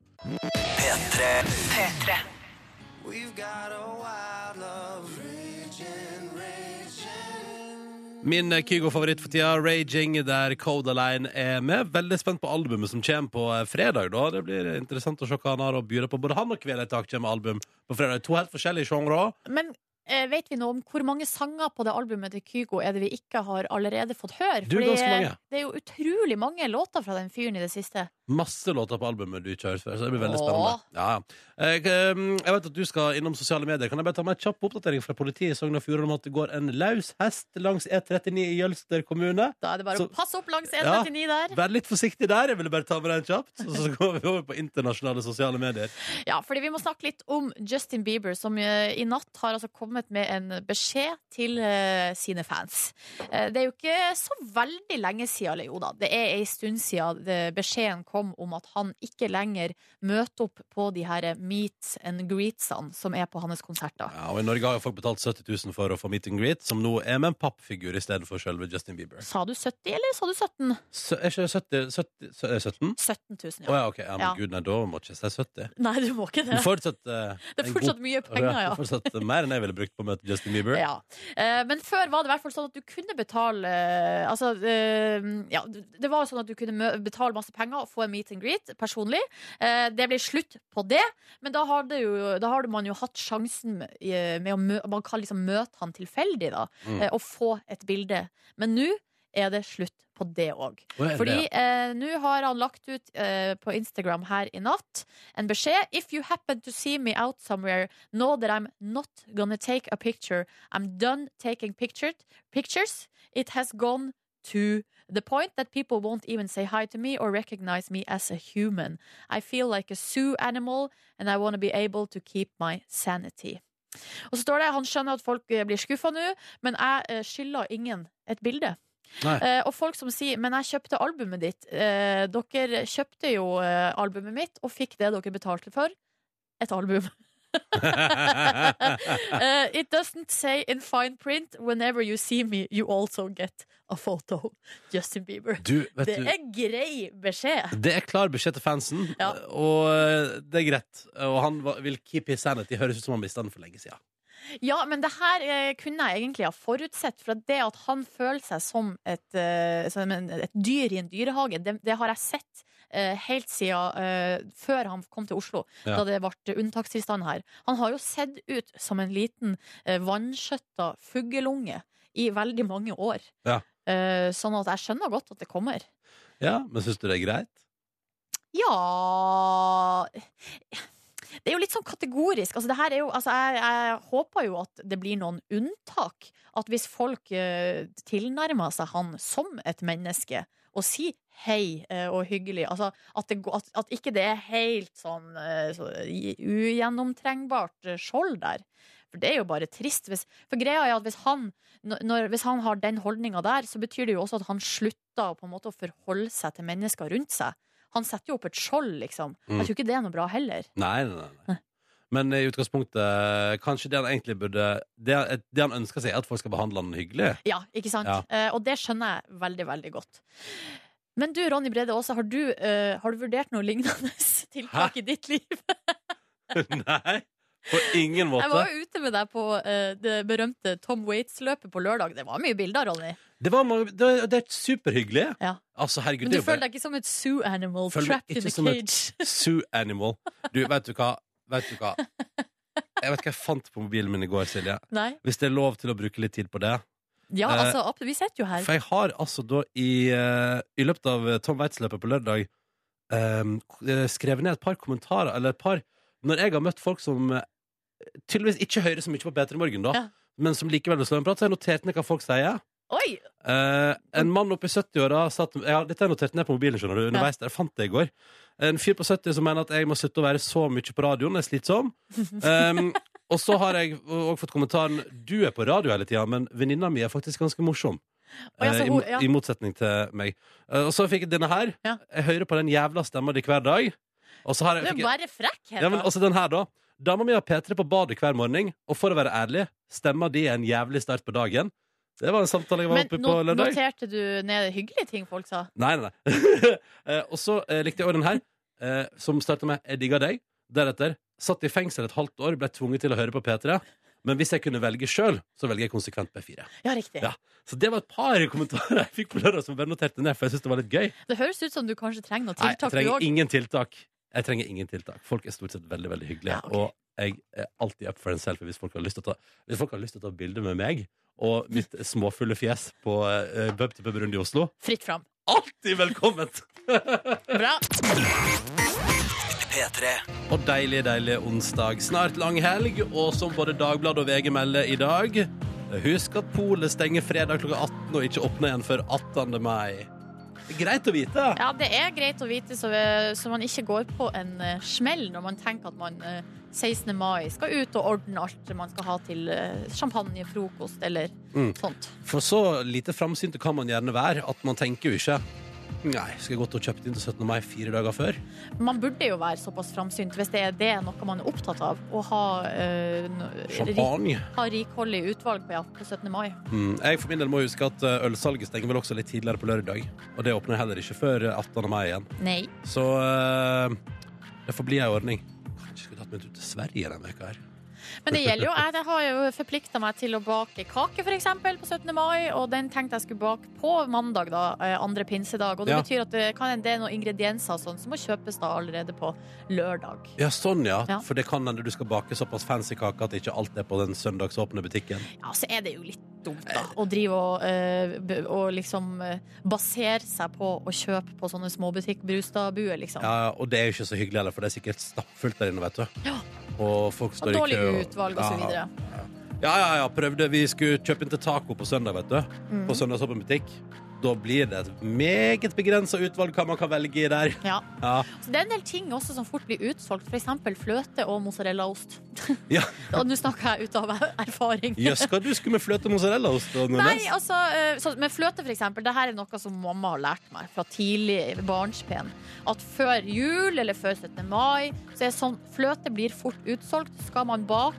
We've got a wild love raging, raging. Min eh, Kygo-favoritt for tida, Raging, der Codaline er med. Veldig spent på albumet som kommer på eh, fredag. da Det blir interessant å se hva han har å by på. Både han og Kveletak kommer med album på fredag. To helt forskjellige sjangre. Men eh, vet vi noe om hvor mange sanger på det albumet til Kygo er det vi ikke har allerede fått høre? Du, ganske mange. det er jo utrolig mange låter fra den fyren i det siste. Masse låter på albumet du ikke har hørt før, så det blir veldig Åh. spennende. Ja. Jeg, eh, jeg vet at du skal innom sosiale medier. Kan jeg bare ta meg en kjapp oppdatering fra politiet i Sogn og Fjordane om at det går en løs hest langs E39 i Jølster kommune? Da er det bare Så- å passe opp langs Ja. E39 der. Vær litt forsiktig der. Jeg ville bare ta med den kjapt. Og så går vi over på internasjonale sosiale medier. Ja, fordi vi må snakke litt om Justin Bieber, som eh, i natt har altså kommet med en beskjed til eh, sine fans. Eh, det er jo ikke så veldig lenge siden, eller jo da, det er ei stund siden det- beskjeden kom om at han ikke lenger møter opp på de her meets and greetsene som er på hans konserter. Ja, og I Norge har jo folk betalt 70 000 for å få meet and greet, som nå er med en pappfigur i stedet for selve Justin Bieber. Sa du 70, eller sa du 17? Så, er ikke 70, 70, så er det 17? 17 Å 000, ja. ja, ok. Ja, men Ja. gud, nei, da må ikke jeg si 70. Nei, du må ikke Men det. fortsatt eh, Det er en fortsatt god- mye penger, Ja, ja. Fortsatt mer enn jeg ville brukt på å møte Justin Bieber. Ja. Eh, men før var det i hvert fall sånn at du kunne betale eh, Altså, eh, ja, det var sånn at du kunne mø- betale masse penger og få en meet and greet personlig. Eh, det ble slutt på det, men da har, det jo, da har man jo hatt sjansen med, med å mø Man kan liksom møte han tilfeldig, da, Mm. eh, og få et bilde. Men nå er det slutt på det òg. Å, er det Fordi det? eh, nå har han lagt ut eh, på Instagram her i natt en beskjed. If you happen to see me out somewhere, know that I'm not gonna take a picture. I'm done taking picture, pictures. It has gone to the point that people won't even say hi to me or recognize me as a human. I feel like a zoo animal, and I want to be able to keep my sanity. Og så står det han skjønner at folk eh, blir skuffa nå, men jeg eh, skylder ingen et bilde. Nei. Eh, og folk som sier 'men jeg kjøpte albumet ditt'. Eh, dere kjøpte jo eh, albumet mitt og fikk det dere betalte for. Et album. Eh, it doesn't say in fine print 'whenever you see me, you also get a photo'. Justin Bieber. Du, vet Det du er grei beskjed. det er klar beskjed til fansen, Ja. og eh, det er greit. Og han var- vil keep his sanity. Høres ut som han mista den for lenge siden. Ja, men det her eh, kunne jeg egentlig ha forutsett, for at det at han føler seg som et, eh, som en, et dyr i en dyrehage, det, det har jeg sett eh, helt siden eh, før han kom til Oslo, Ja. da det ble unntakstilstand her. Han har jo sett ut som en liten eh, vannskjøtta fuggelunge i veldig mange år. Ja. Eh, sånn at jeg skjønner godt at det kommer. Ja, Men syns du det er greit? Ja Det er jo litt sånn kategorisk. Altså, det her er jo, altså, jeg, jeg håper jo at det blir noen unntak. At hvis folk eh, tilnærmer seg han som et menneske og sier hei eh, og hyggelig altså, at, det, går- at, at ikke det er helt sånn eh, så, i- ugjennomtrengbart eh, skjold der. For det er jo bare trist. Hvis, for greia er at hvis han, når- når, hvis han har den holdninga der, så betyr det jo også at han slutter på en måte å forholde seg til mennesker rundt seg. Han setter jo opp et skjold, liksom. Mm. Jeg tror ikke det er noe bra heller. Nei, nei, nei, nei. Men i utgangspunktet, kanskje det han egentlig burde Det, det han ønsker seg, er at folk skal behandle han hyggelig. Ja, ikke sant? Ja. Eh, og det skjønner jeg veldig, veldig godt. Men du, Ronny Brede Aase, har, du, eh, har du vurdert noe lignende tiltak i ditt liv? nei, på ingen Jeg måte. var jo ute med deg på eh, det berømte Tom Waits-løpet på lørdag. Det var mye bilder, Ronny. Det, var, mange- det, det er superhyggelig. Ja. Altså, herregud, Men du det er jo bare- føler deg ikke som et zoo animal Føler meg trapped ikke in a som et- cage. Zoo Animal. Du, vet du hva? Vet du hva? Jeg vet hva jeg fant på mobilen min i går, Silje. Nei. Hvis det er lov til å bruke litt tid på det. Ja, Eh, altså, ab- vi sitter jo her. For jeg har altså da i, eh, i løpet av Tom Waits-løpet på lørdag em, k- eh, skrevet ned et par kommentarer, eller et par Når jeg har møtt folk som eh, tydeligvis ikke hører så mye på P3 Morgen, da, Ja. men som likevel vil slå en prat, så har jeg notert ned hva folk sier. Oi! Eh, en Mm. mann oppe i 70-åra satt ja, Dette er notert ned på mobilen, skjønner du. Underveis der, jeg fant det i går. En fyr på 70 som mener at jeg må slutte å være så mye på radioen. Jeg er slitsom. Em, og så har jeg òg fått kommentaren Du er på radio hele tida, men venninna mi er faktisk ganske morsom. Å, ja, så Eh, i, hun- mo- ja. I motsetning til meg. Eh, og så fikk jeg denne her. Ja. Jeg hører på den jævla stemma di hver dag. Og så har Du jeg, er fikk jeg bare frekk. Hedda. ja, men altså, også den her, da. Dama mi har P3 på badet hver morgen, og for å være ærlig, stemma di er en jævlig start på dagen. Det var en samtale jeg var Men oppe i på no- lørdag. noterte du ned hyggelige ting folk sa? Nei, nei, nei. Eh, og så eh, likte jeg også den her, eh, som starta med 'Jeg digger deg'. Deretter satt i fengsel et halvt år, ble tvunget til å høre på P3. Men hvis jeg kunne velge sjøl, så velger jeg konsekvent P4. Ja, riktig. Ja. Så det var et par kommentarer jeg fikk på lørdag som jeg bare noterte ned, for jeg syntes det var litt gøy. Det høres ut som du kanskje trenger noe Nei, jeg tiltak, du trenger òg. ingen tiltak. Jeg trenger ingen tiltak. Folk er stort sett veldig veldig hyggelige. Ja, ok. Og jeg er alltid up for en selfie hvis folk har lyst til å ta Hvis folk har lyst til å ta bilde med meg og mitt småfulle fjes på uh, Bub til Bub Rundt i Oslo. Fritt fram. Alltid velkomment! Bra. Og deilig, deilig onsdag. Snart langhelg, og som både Dagbladet og VG melder i dag Husk at polet stenger fredag klokka 18 og ikke åpner igjen før 18. mai. Det er greit å vite. Ja, det er greit å vite, så, så man ikke går på en eh, smell når man tenker at man eh, 16. mai skal ut og ordne alt man skal ha til eh, champagne, frokost eller Mm. sånt. For så lite framsynt kan man gjerne være at man tenker jo ikke Nei, skal jeg godt ha kjøpt inn til 17. mai fire dager før? Man burde jo være såpass framsynt hvis det er det noe man er opptatt av. Å ha, eh, no- rik, Champagne. ha rikholdig utvalg på, ja, på 17. mai. Mm. Jeg for min del må huske at eh, ølsalget stenger vel også litt tidligere på lørdag. Og det åpner heller ikke før eh, 18. mai igjen. Nei. Så eh, det får bli ei ordning. Kanskje jeg skulle tatt meg en tur til Sverige denne uka her. Men det gjelder jo. Jeg det har jo forplikta meg til å bake kake, f.eks., på 17. mai. Og den tenkte jeg skulle bake på mandag, da, eh, andre pinsedag. Og det Ja. betyr at det, kan, hende det er noen ingredienser og sånn som må kjøpes da allerede på lørdag. Ja, sånn, ja. Ja. For det kan hende du skal bake såpass fancy kake at ikke alt er på den søndagsåpne butikken. Ja, så er det jo litt dumt, da. Å drive og, eh, b- og liksom eh, basere seg på å kjøpe på sånne småbutikk, Brustadbuer, liksom. Ja, og det er jo ikke så hyggelig heller, for det er sikkert stappfullt der inne, vet du. Ja. Og folk Og står i dårlig kø. og- utvalg og så Ja. videre. Ja, ja, ja, prøvde Vi skulle kjøpe inn til taco på søndag, vet du Mhm. På søndagsåpen butikk Da blir det et meget begrenset utvalg Hva man kan velge i der Ja. Ja, Så det er en del ting også som fort blir utsolgt, f.eks. fløte og mozzarellaost. ja. Og nå snakker jeg ut av erfaring. Jøss, hva du skulle med fløte og mozzarella ost Nei, altså, eh, så, med fløte for eksempel Det her er noe som mamma har lært meg Fra tidlig barnspen At før jul eller før 17. mai Så er det sånn, fløte blir fort utsolgt Skal man bak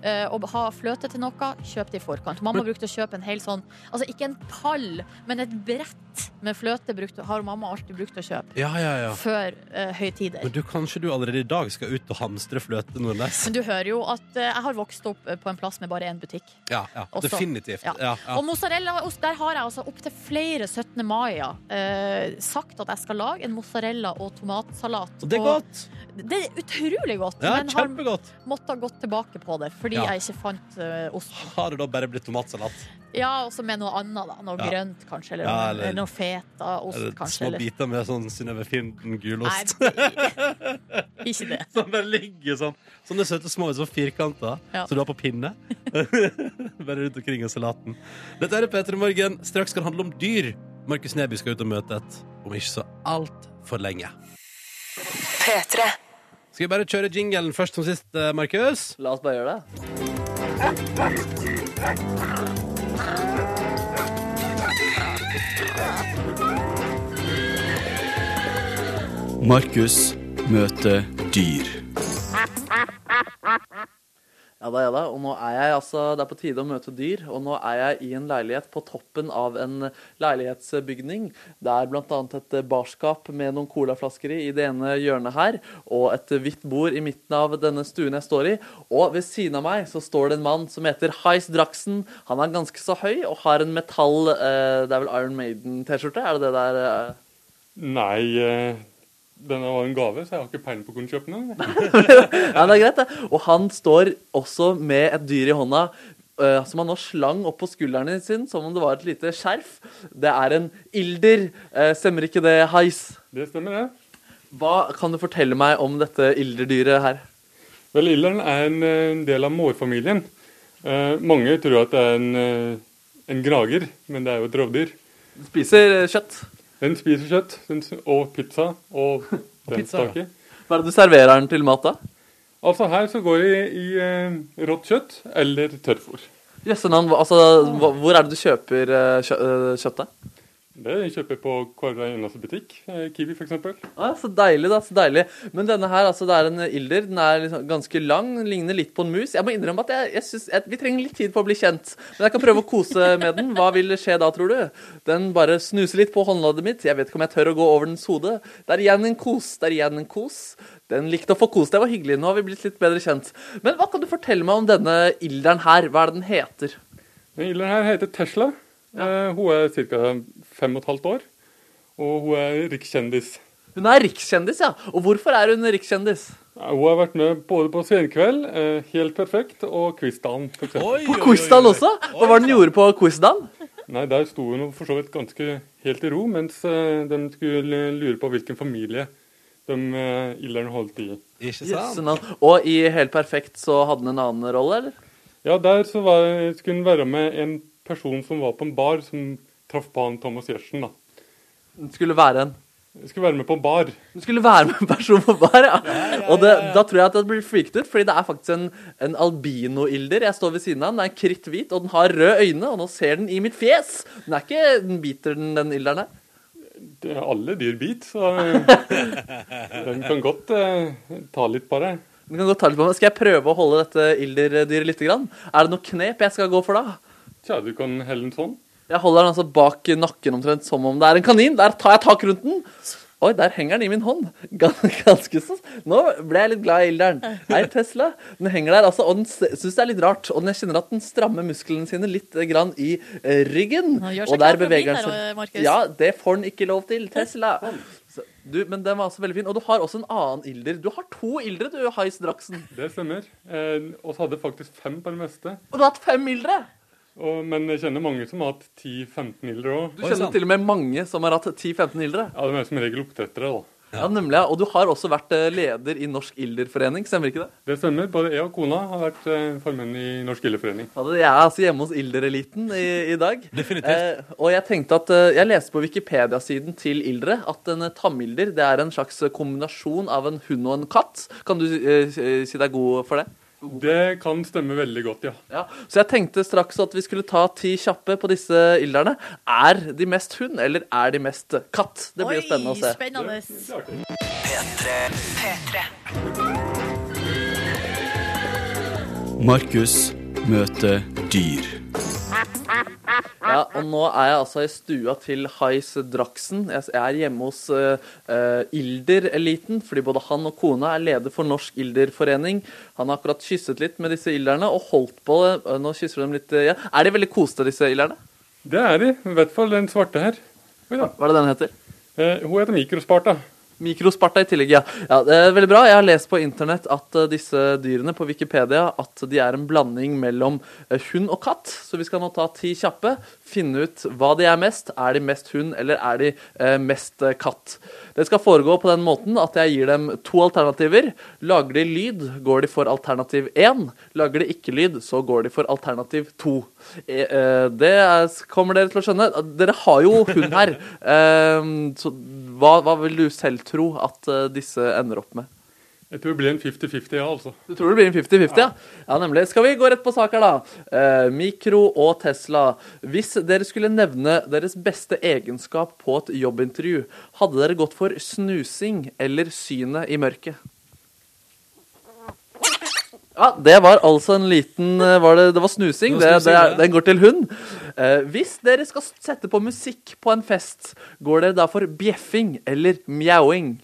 eh, og ha fløte til noe, kjøp det i forkant Mamma brukte å kjøpe en hel sånn Altså ikke en pall, men et brett Med fløte brukte, har mamma alltid brukt å kjøpe Ja, ja, ja Før eh, høytider Men du, kanskje du allerede i dag skal ut og hamstre fløte Nordnes Men du hører jo at eh, jeg har vokst opp eh, på en plass med bare en butikk Ja, ja, Også. definitivt Ja. ja. Ja, Og mozzarellaost, der har jeg altså opptil flere 17. mai eh, sagt at jeg skal lage en mozzarella- og tomatsalat. Og det er Og godt det er utrolig godt, Ja, men har kjempegodt måttet gått tilbake på det fordi Ja. jeg ikke fant eh, eh, ost. Har det da bare blitt tomatsalat? Ja, også med noe annet, da. Noe Ja. grønt, kanskje. Eller, Ja, noe- eller- eller noe fetaost, Eller kanskje. små Eller. biter med sånn Synnøve Finden Nei, gulost? ikke det. Som bare ligger sånn. Sånne søte små sånn firkanter Ja. som du har på pinne. bare rundt omkring i salaten. Dette er P3 Morgen. Straks skal det handle om dyr. Markus Neby skal ut og møte et om ikke så altfor lenge. Skal vi bare kjøre jingelen først som sist, eh, Markus? La oss bare gjøre det. Markus møter dyr. Ja da, ja da. Og nå er jeg altså Det er på tide å møte dyr, og nå er jeg i en leilighet på toppen av en leilighetsbygning. Det er bl.a. et barskap med noen colaflasker i i det ene hjørnet her, og et hvitt bord i midten av denne stuen jeg står i. Og ved siden av meg så står det en mann som heter Heis Draxen. Han er ganske så høy og har en metall eh, Det er vel Iron Maiden-T-skjorte? Er det det der? Eh? Nei, eh, denne var en gave, så jeg har ikke peiling på hvor den kjøper den. jeg. Ja, det er greit, det. Og han står også med et dyr i hånda. eh, som han nå slang opp på skulderen sin som om det var et lite skjerf. Det er en ilder. Eh, stemmer ikke det, Heis? Det stemmer, det. Hva kan du fortelle meg om dette ilderdyret her? Vel, Ilderen er en, eh, en del av mårfamilien. Eh, mange tror at det er en, eh, en grager, men det er jo et rovdyr. Den Spiser eh, kjøtt. Den spiser kjøtt den, s- og pizza og den pizza, ja. stake. Hva er det du serverer den til mat, da? Altså her så går det i, i eh, rått kjøtt eller tørrfôr. Jøssenavn, hva- altså, hva- hvor er det du kjøper eh, kjø eh, kjøttet? Det kjøper jeg på hver eneste butikk. Eh, Kiwi f.eks. Ah, så deilig, da. så deilig. Men denne her, altså, det er en ilder. Den er liksom ganske lang, den ligner litt på en mus. Jeg må innrømme at jeg, jeg synes, jeg, vi trenger litt tid på å bli kjent. Men jeg kan prøve å kose med den. Hva vil skje da, tror du? Den bare snuser litt på håndleddet mitt. Jeg vet ikke om jeg tør å gå over dens hode. Det er igjen en kos. Det er igjen en kos. Den likte å få kos. Det var hyggelig. Nå har vi blitt litt bedre kjent. Men hva kan du fortelle meg om denne ilderen her? Hva er det den heter? Den ilderen her heter Tesla. Eh, hun er ca. fem og et halvt år. Og hun er en rik kjendis. Hun er rikskjendis, ja. Og hvorfor er hun rikskjendis? Ja, Hun har vært med både på Senkveld, eh, Helt perfekt og Quizdagen. for eksempel. Oi, oi, oi, oi. Quizdan også? Hva var det den gjorde på Quizdan? Nei, Der sto hun jo for så vidt ganske helt i ro, mens eh, de skulle lure på hvilken familie de eh, ilderen holdt i. Ikke sant? Jøssenavn. Og i Helt perfekt så hadde han en annen rolle, eller? Ja, Der så var, skulle hun være med en person som var på en bar, som traff på han Thomas Giertsen. da. Den skulle være en Skulle være med på bar. den skulle være med en person på bar, ja. Og det, da tror jeg at jeg blir freaked ut, fordi det er faktisk en, en albinoilder. Jeg står ved siden av den, den er kritthvit, og den har røde øyne, og nå ser den i mitt fjes! Den er ikke Den biter den, den ilderen her. Det er alle dyr bit, så eh, den kan godt eh, ta litt på deg. Den kan godt ta litt på meg. Skal jeg prøve å holde dette ilderdyret lite grann? Er det noe knep jeg skal gå for da? Tja, du kan helle en sånn. Jeg holder den altså bak nakken omtrent som om det er en kanin. Der tar jeg tak rundt den. Oi, der henger den i min hånd. Gan- Ganske så Nå ble jeg litt glad i ilderen. Hei, Tesla. Den henger der, altså. Og den syns det er litt rart. Og den, jeg kjenner at den strammer musklene sine litt eh, grann i eh, ryggen. Han gjør seg Og der klar for å bli beveger der, den eh, seg. Markus. Ja, det får den ikke lov til. Tesla. Så, du, men den var altså veldig fin. Og du har også en annen ilder. Du har to ildre, du, Heis Draxen. Det stemmer. Eh, og så hadde jeg faktisk fem på det meste. Og du har hatt fem ildre. Og, men jeg kjenner mange som har hatt 10-15 ilder òg. Oi, Du kjenner sant. til og med mange som har hatt 10-15 ildre. Ja, de er som regel oppdrettere, da. Ja, nemlig. ja. Og du har også vært eh, leder i Norsk Ilderforening, stemmer ikke det? Det stemmer. Både jeg og kona har vært eh, formenn i Norsk Gildeforening. Ja, det- Jeg er altså hjemme hos Ildereliten i, i dag. Definitivt. Eh, og jeg tenkte at eh, jeg leste på Wikipedia-siden til Ildre at en eh, tamilder det er en slags eh, kombinasjon av en hund og en katt. Kan du eh, si deg god for det? Det kan stemme veldig godt, ja. Ja. Så jeg tenkte straks at vi skulle ta ti kjappe på disse ilderne. Er de mest hund, eller er de mest katt? Det blir jo spennende å se. spennende. Markus møter dyr. Ja, og nå er jeg altså i stua til Hais Draxen. Jeg s- jeg er hjemme hos eh, eh, Ilder-eliten, fordi både han og kona er leder for Norsk Ilderforening. Han har akkurat kysset litt med disse ilderne, og holdt på eh, Nå kysser de litt eh, igjen. Er de veldig koste, disse ilderne? Det er de. I hvert fall den svarte her. Oi da. Hva er det den heter? Eh, hun heter Mikrosparta. Mikrosparta i tillegg, ja. ja det er veldig bra. Jeg har lest på internett at eh, disse dyrene på Wikipedia at de er en blanding mellom eh, hund og katt. Så vi skal nå ta ti kjappe, finne ut hva de er mest. Er de mest hund, eller er de eh, mest eh, katt? Det skal foregå på den måten at jeg gir dem to alternativer. Lager de lyd, går de for alternativ 1. Lager de ikke lyd, så går de for alternativ 2. Eh, eh, Det er, kommer dere til å skjønne. Dere har jo hund her. Eh, Så hva, hva vil du selv tro at eh, disse ender opp med? Jeg tror det blir en 50-50, ja, altså. Du tror det blir en 50-50, ja. ja? nemlig. Skal vi gå rett på sak her, da? Eh, mikro og Tesla. Hvis dere skulle nevne deres beste egenskap på et jobbintervju, hadde dere gått for snusing eller synet i mørket? Ja, det var altså en liten eh, Var det, det var snusing. Det Det, var det, snusing, ja. den går til hund. Eh, hvis dere skal sette på musikk på en fest, går det da for bjeffing eller mjauing?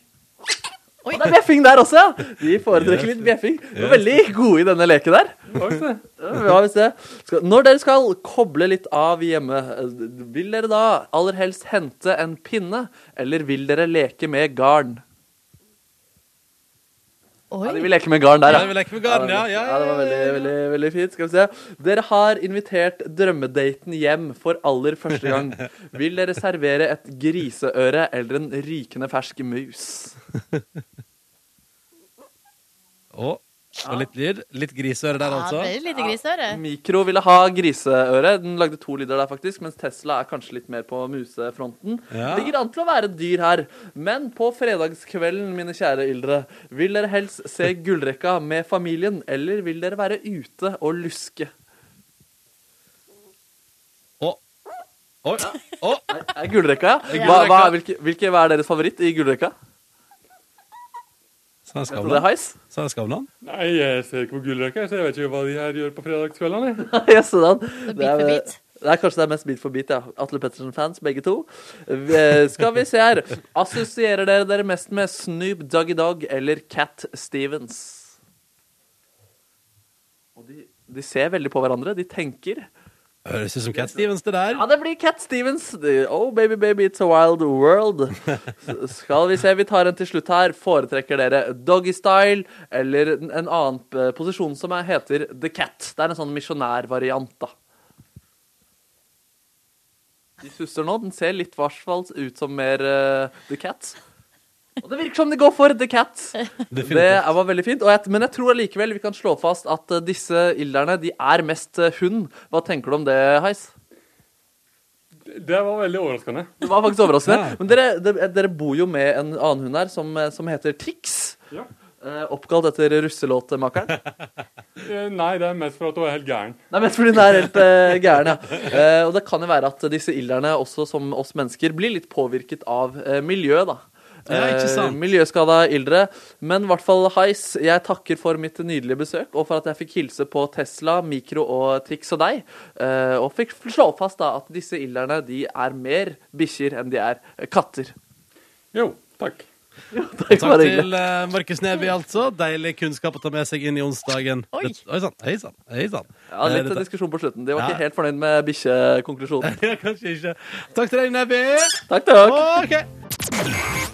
Oi, det er bjeffing der også, ja! Vi foretrekker litt bjeffing. Du var veldig god i denne leken der. Ja, hvis det. Skal, når dere skal koble litt av hjemme, eh, vil dere da aller helst hente en pinne, eller vil dere leke med garn? Ja, de vil leke med garn der, Ja, de vil leke med garn, ja, ja, det var veldig, veldig, veldig fint. Skal vi se. Dere har invitert drømmedaten hjem for aller første gang. Vil dere servere et griseøre eller en rykende fersk mus? Å, og litt lyd. Litt griseøre der, Ja, det altså. ble litt grisøre. Mikro ville ha griseøre. Den lagde to lyder der, faktisk. Mens Tesla er kanskje litt mer på musefronten. Ja. Ligger an til å være dyr her. Men på fredagskvelden, mine kjære ildre, vil dere helst se gullrekka med familien, eller vil dere være ute og luske? Oi, å. Er gullrekka, ja? Ja. Hva, hva, hvilke, hvilke, hva er deres favoritt i gullrekka? Sa jeg Vet sånn du det, Skavlan? Heis? Sa jeg Skavlan? Nei, jeg ser ikke på gullrekka, så jeg vet ikke hva de her gjør på fredagskveldene. jeg. Yes, sådan. bit for bit. sånn. Det er kanskje det er mest bit for bit, ja. Atle Pettersen-fans, begge to. Eh, Skal vi se her. Assosierer dere dere mest med Snoop Doggy Dogg eller Cat Stevens? Og de, de ser veldig på hverandre. De tenker. Høres ut som Cat Stevens, det der. Ja, det blir Cat Stevens. Det- Oh, baby, baby, it's a wild world. S- Skal vi se, vi tar en til slutt her. Foretrekker dere Doggy Style eller en en annen eh, posisjon som er- heter The Cat? Det er en sånn misjonærvariant, da. De susser nå. Den ser litt hvertfall ut som mer eh, The Cat. Og det virker som de går for The Cat. Det er- var veldig fint. Og jeg, men jeg tror allikevel vi kan slå fast at eh, disse ilderne de er mest eh, hund. Hva tenker du om det, Heis? Det var veldig overraskende. Det var faktisk overraskende. Ja. Men dere, dere, dere bor jo med en annen hund her som, som heter Tix. Ja. Eh, Oppkalt etter russelåtmakeren. Eh, Nei, det er mest for at du er helt gæren. Det er mest fordi den er helt eh, gæren, ja. Eh, og det kan jo være at disse ilderne, også som oss mennesker, blir litt påvirket av eh, miljøet, da. Ja, ikke sant. Eh, miljøskada ildre. Men i hvert fall, Heis, jeg takker for mitt nydelige besøk, og for at jeg fikk hilse på Tesla, Mikro og Tix og deg. eh, og fikk slå fast da at disse ilderne de er mer bikkjer enn de er eh, katter. Jo, takk. Takk, Takk bare til hyggelig. eh, Markus Neby, altså. Deilig kunnskap å ta med seg inn i onsdagen. Oi. Det- Oi sann, hei sann. Hei sann. Ja, Eh, litt dette- diskusjon på slutten. De var Ja. ikke helt fornøyd med bikkjekonklusjonen. Ja, kanskje ikke. Takk til deg, Neby. Takk, takk. Ok.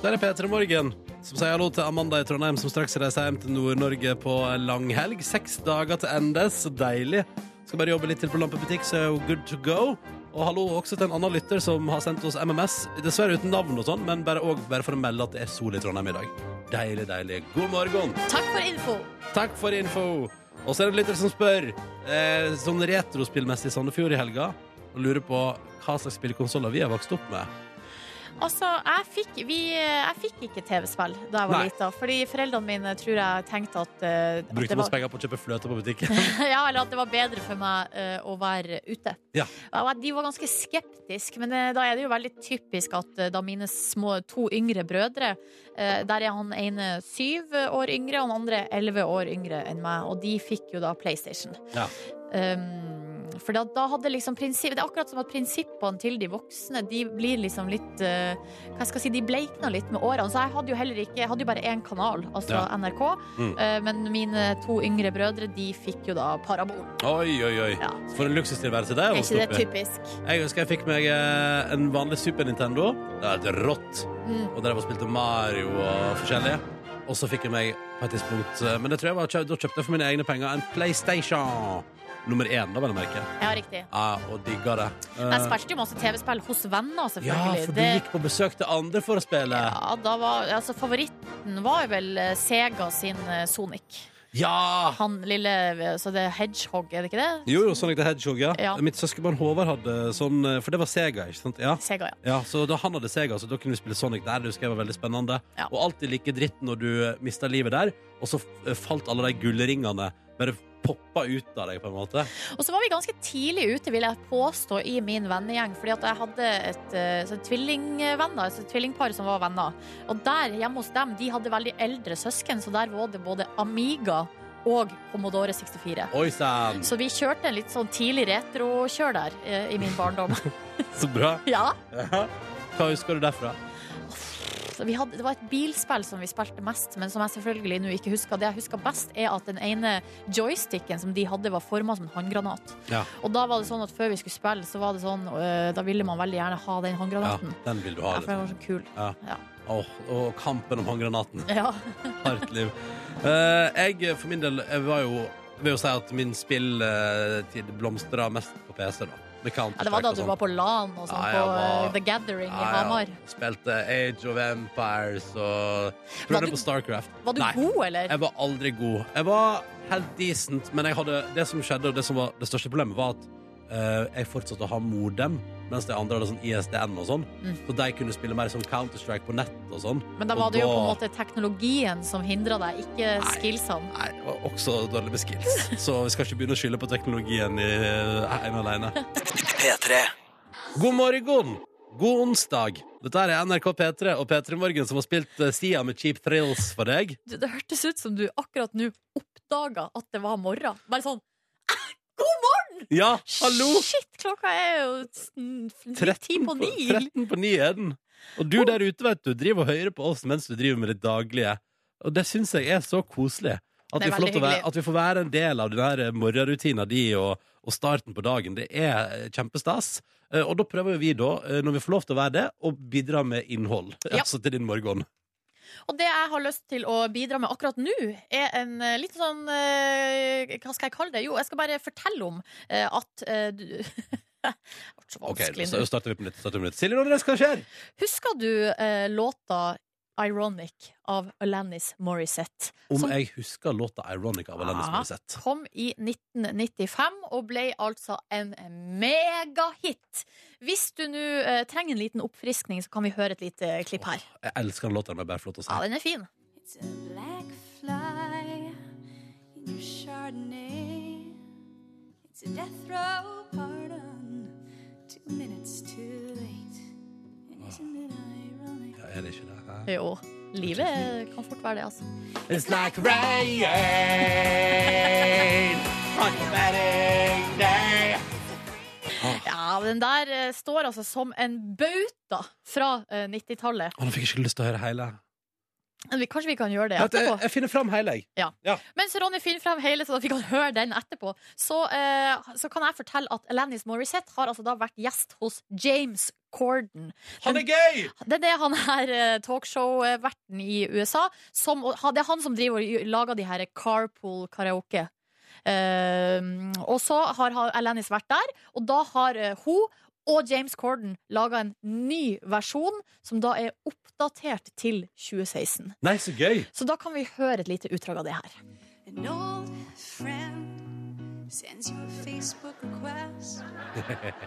Der er P3 Morgen, som sier hallo til Amanda i Trondheim, som straks reiser hjem til Nord-Norge på langhelg. Seks dager til endes. Så deilig. Skal bare jobbe litt til på lampebutikk, så er hun good to go. Og hallo også til en annen lytter som har sendt oss MMS. Dessverre uten navn og sånn, men bare, og, bare for å melde at det er sol i Trondheim i dag. Deilig, deilig. God morgen. Takk for info. Takk for info. Og så er det en lytter som spør, eh, sånn retrospillmessig i Sandefjord i helga, og lurer på hva slags spillkonsoller vi har vokst opp med. Altså, jeg fikk, vi, eh, jeg fikk ikke TV-spill da jeg var Nei. lita, fordi foreldrene mine tror jeg tenkte at, eh, at Brukte det masse var, penger på å kjøpe fløte på butikken. ja, eller at det var bedre for meg eh, å være ute. Ja. Og jeg- De var ganske skeptiske, men eh, da er det jo veldig typisk at eh, da mine små, to yngre brødre eh, Der er han ene syv år yngre, og han andre elleve år yngre enn meg, og de fikk jo da PlayStation. Ja. Um, for da, da hadde liksom prinsipp, Det er akkurat som at prinsippene til de voksne De blir liksom litt eh, Hva skal jeg si, de bleikner litt med årene Så jeg hadde jo heller ikke, jeg hadde jo bare én kanal Altså Ja. NRK Mm. eh, Men mine to yngre brødre, de fikk jo da parabol Oi, oi, oi. For en luksustilværelse det er. å Er vokse ikke det opp i. typisk? Jeg husker jeg fikk meg eh, en vanlig Super Nintendo. Det var helt rått. Mm. Og drev og spilte Mario og forskjellig. Og så fikk jeg meg på et tidspunkt eh, Men det tror jeg var, kjø- da kjøpte jeg for mine egne penger en PlayStation nummer én, da, vel å merke. Ja, riktig Ja, og digga det. Eh, Men jeg spilte jo masse TV-spill hos venner ja, selvfølgelig for du Det- gikk på besøk til andre for å spille. Ja, da var, altså favoritten var jo vel eh, Sega sin eh, Sonic. Ja! Han lille altså det er Hedgehog, er det ikke det? Jo, sånn jo, Sonic the Hedgehog, ja. Ja. Mitt søskenbarn Håvard hadde sånn eh, For det var Sega, ikke sant? Ja. Sega, ja. så da han hadde Sega, så da kunne vi spille Sonic der. Det husker jeg var veldig spennende. Og alltid like dritt når du eh, mista livet der, og så eh, falt alle de gullringene bare poppa ut av deg, på en måte. Og så var vi ganske tidlig ute, vil jeg påstå, i min vennegjeng. Fordi at jeg hadde et eh, så tvillingvenner, altså et tvillingpar som var venner. Og der hjemme hos dem, de hadde veldig eldre søsken, så der var det både Amiga og Commodore 64. Oi sann! Så vi kjørte en litt sånn tidlig retro-kjør der eh, i min barndom. Så bra. ja. Ja. Hva husker du derfra? Så vi hadde, det var et bilspill som vi spilte mest, men som jeg selvfølgelig nå ikke husker. Det jeg husker best, er at den ene joysticken som de hadde, var forma som en håndgranat. Ja. Og da var det sånn at før vi skulle spille, så var det sånn øh, Da ville man veldig gjerne ha den ja håndgranaten. den vil du Ja, ha. liksom. for den var så kul. Ja. Ja. Åh, og kampen om håndgranaten. Ja. Hardt liv. Eh, jeg for min del jeg var jo vil jo si at min spilltid blomstra mest på PC, da. Med ja, det var da du var på LAN og sånn, Ja, jeg på var- øh, The Gathering i Hamar. Spilte Age of Empires og Var prøvde du- på Starcraft. Var du god, eller? Jeg var aldri god. Jeg var helt decent, men jeg hadde, det som skjedde, og det som var det største problemet, var at eh, jeg fortsatte å ha modem, mens de andre hadde sånn ISDN og sånn. Mm. Så de kunne spille mer sånn Counter-Strike på nett og sånn. Men da Og var det jo på en da- måte teknologien som hindra deg, ikke skillsene. Nei, det var også dårlig med skills. Så vi skal ikke begynne å skylde på teknologien i, ene alene. P3. God morgen! God onsdag! Dette er NRK P3 og P3 Morgen som har spilt eh, Sia med Cheap Thrills for deg. Du, Det hørtes ut som du akkurat nå oppdaga at det var morgen. Bare sånn God morgen! Ja, hallo! Shit, klokka er jo sn- f- ti på på, ni. 13 på 9 er den. Og du der ute, vet du, driver og hører på oss mens du driver med det daglige. Og det syns jeg er så koselig. At Det vi, er får lov til å veldig være, hyggelig. at vi får være en del av den her morgenrutina di og, og starten på dagen. Det er eh, kjempestas. Eh, Og da prøver vi da, eh, når vi får lov til å være det, å bidra med innhold. Ja. Altså til din morgen. Og det jeg har lyst til å bidra med akkurat nå, er en eh, litt sånn eh, Hva skal jeg kalle det? Jo, jeg skal bare fortelle om eh, at eh, du Så Ok, vanskelig så nå. starter vi på nytt. Starter vi på nytt. Silje Nordnes, hva skjer? Husker du eh, låta Ironic av Alanis Morissette? Om Som- jeg husker låta 'Ironic' av Alanis Ja, Morissette. Kom i 1995 og ble altså en megahit. Hvis du nå eh, trenger en liten oppfriskning, så kan vi høre et lite eh, klipp her. Jeg elsker den låta. Den er bare flott å si. Ja, den er fin. black fly in your Chardonnay. It's a death row pardon, two minutes too late. And isn't it ironic? Ja, er det ikke det? Hæ? Jo. Livet kan fort være det, altså. It's like rain on a wedding day. Ja, den der eh, står altså som en bauta fra eh, 90-tallet. Å, nå fikk jeg ikke lyst til å høre hele. Men vi- Kanskje vi kan gjøre det Vet du, jeg, etterpå? jeg finner fram hele, jeg. Ja. Ja. Mens Ronny finner frem hele, så da vi kan høre den etterpå, så, eh, så kan jeg fortelle at Alanis Morissette har altså da vært gjest hos James Corden. Han er gøy! Det er det han her eh, talkshow-verten i USA. Som, og han- det er han som driver og lager de her carpool karaoke. Eh, og så har han- Alanis vært der, og da har eh, hun og James Corden laga en ny versjon, som da er oppdatert til 2016. Nei, så gøy. Så da kan vi høre et lite utdrag av det her. An old friend sends you a Facebook request.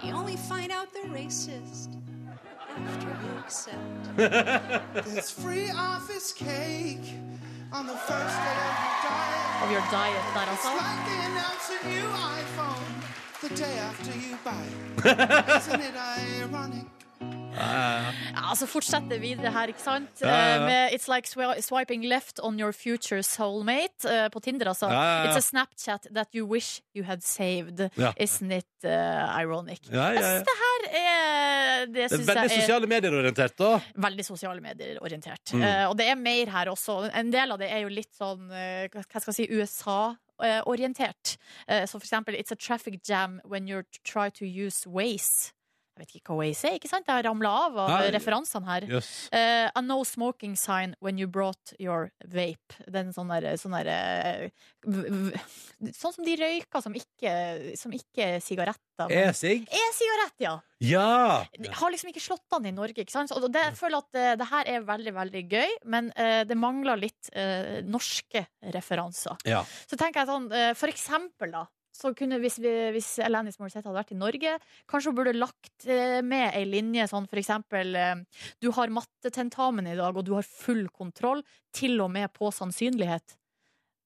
You only find out they're racist after you accept. There's free office cake on the first day of your diet. Of your diet, der It's altså. like they announce a new iPhone the day after you buy it. Isn't it ironic? Ja, altså fortsetter videre her, ikke sant? Ja, ja, ja. Eh, Med It's like swi- swiping left on your future soulmate eh, på Tinder, altså. Ja, ja, ja. It's a Snapchat that you wish you had saved. Ja. Isn't it eh, ironic? Ja, ja, ja. Jeg synes det her er Det, Det er synes veldig jeg er sosiale medier-orientert, da. veldig sosiale medier orientert. Mm. Eh, og det er mer her også. En del av det er jo litt sånn eh, hva hva skal jeg si, USA. eh, Orientert. Eh, Så for eksempel It's a traffic jam when you try to use Waze. Jeg vet ikke hva Waze er, ikke sant? Det har ramla av av Nei. referansene her. Jøss. Eh, a no smoking sign when you brought your vape. Den sånn der, sånn der eh, v- v- Sånn som de røyker som ikke, som ikke er sigaretter. men- E-sig? E-sigarett, ja. Ja! Det har liksom ikke slått an i Norge. ikke sant? Så det, jeg føler at eh, det her er veldig veldig gøy, men eh, det mangler litt eh, norske referanser. Ja. Så tenker jeg sånn, eh, for eksempel da, så kunne, hvis, vi, hvis Alanis Morissette hadde vært i Norge, kanskje hun burde lagt eh, med ei linje sånn for eksempel eh, Du har mattetentamen i dag, og du har full kontroll, til og med på sannsynlighet.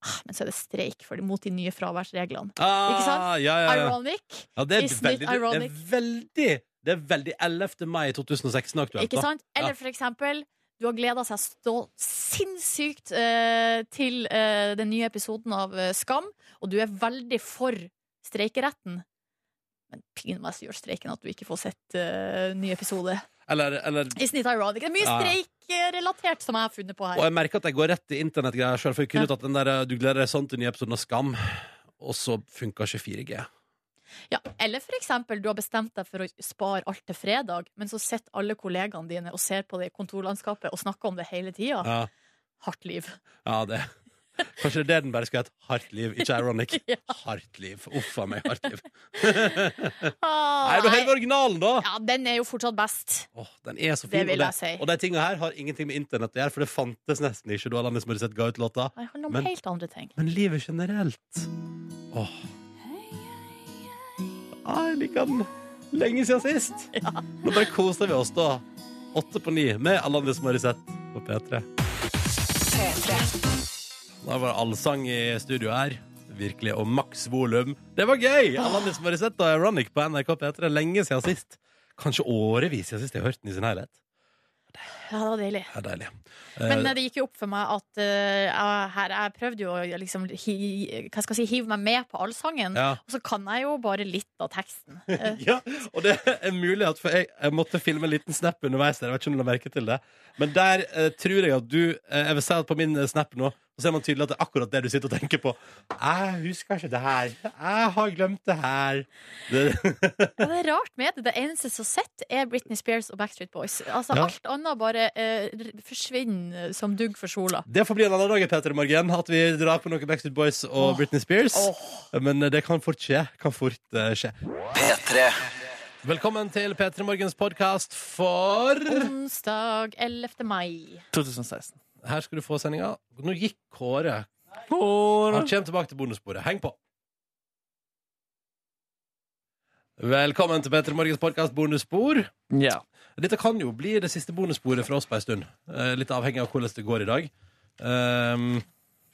Ah, Men så er det streik for, mot de nye fraværsreglene. Ah, Ikke sant? ja, ja, ja. Ironic. Ja, det, er Isn't it veldig, det, ironic? er veldig, det er veldig 11. mai 2016 aktuelt. Ikke da. sant? Eller ja. for eksempel du har gleda seg stå sinnssykt eh, til eh, den nye episoden av eh, Skam, og du er veldig for streikeretten. Men pin meg så gjør streiken at du ikke får sett eh, ny episode. eller, eller Isn't it ironic? Det er mye Ja. streikrelatert som jeg har funnet på Og her. jeg merker at jeg går rett i internettgreier sjøl, for jeg kunne tatt den der eh, 'du gleder deg sånn til nye episoden av Skam', og så funka ikke 4G. Ja, eller for eksempel du har bestemt deg for å spare alt til fredag, men så sitter alle kollegaene dine og ser på det i kontorlandskapet og snakker om det hele tida. Ja, Hardt liv. ja det Kanskje det er det den bare skal hete. Hardt liv, ikke ironic. Ja. Hardt liv. Uff a meg, hardt liv. Ah, Nei, men hør på originalen, da! Ja, den er jo fortsatt best. Åh, den er så Det fin. vil og, det, jeg si. og de tinga her har ingenting med internett å gjøre, for det fantes nesten ikke da Alanis Morissette ga ut låta. Det handler om Men- helt andre ting. Men livet generelt Åh ah, Jeg liker den Lenge siden sist Nå bare koser vi oss da 8 på 9 med Alanis Morissette på P3 Da var det allsang i studio her Virkelig, og maks volum Det var gøy! Alanis Morissette og Ironic på NRK P3 Lenge siden sist Kanskje årevis siden sist jeg hørte den i sin helhet Ja, det var deilig. Det er deilig Men Eh, eh, det gikk jo opp for meg at eh, jeg- her, jeg prøvde jo å liksom, hi, hva skal jeg si, hive meg med på allsangen, Ja. og så kan jeg jo bare litt av teksten. Eh, ja, og det er mulig at For jeg, jeg måtte filme en liten snap underveis der. Jeg vet ikke om du la merke til det Men der eh, tror jeg at du eh, Jeg vil si at på min eh, snap nå Så ser man tydelig at det er akkurat det du sitter og tenker på. Jeg husker ikke det her. Jeg har glemt det her. Det, Ja, det er rart med det. Det eneste som sitter, er Britney Spears og Backstreet Boys. Altså Ja. Alt annet bare eh, r- forsvinner som dugg for sola. det får bli en annen dag Peter, i morgen at vi drar på noe Backstreet Boys og Britney Spears. Men eh, det kan fort skje. Kan fort eh, skje. P3. Velkommen til P3 Morgens podkast for Onsdag 11. mai. 2016. Her skal du få sendinga. Nå gikk Kåre. Han kommer tilbake til bonusbordet. Heng på! Velkommen til Petter Morgens podkast Bonusspor. Ja. Dette kan jo bli det siste bonussporet fra oss på ei stund. Eh, Litt avhengig av hvordan det går i dag. Ehm,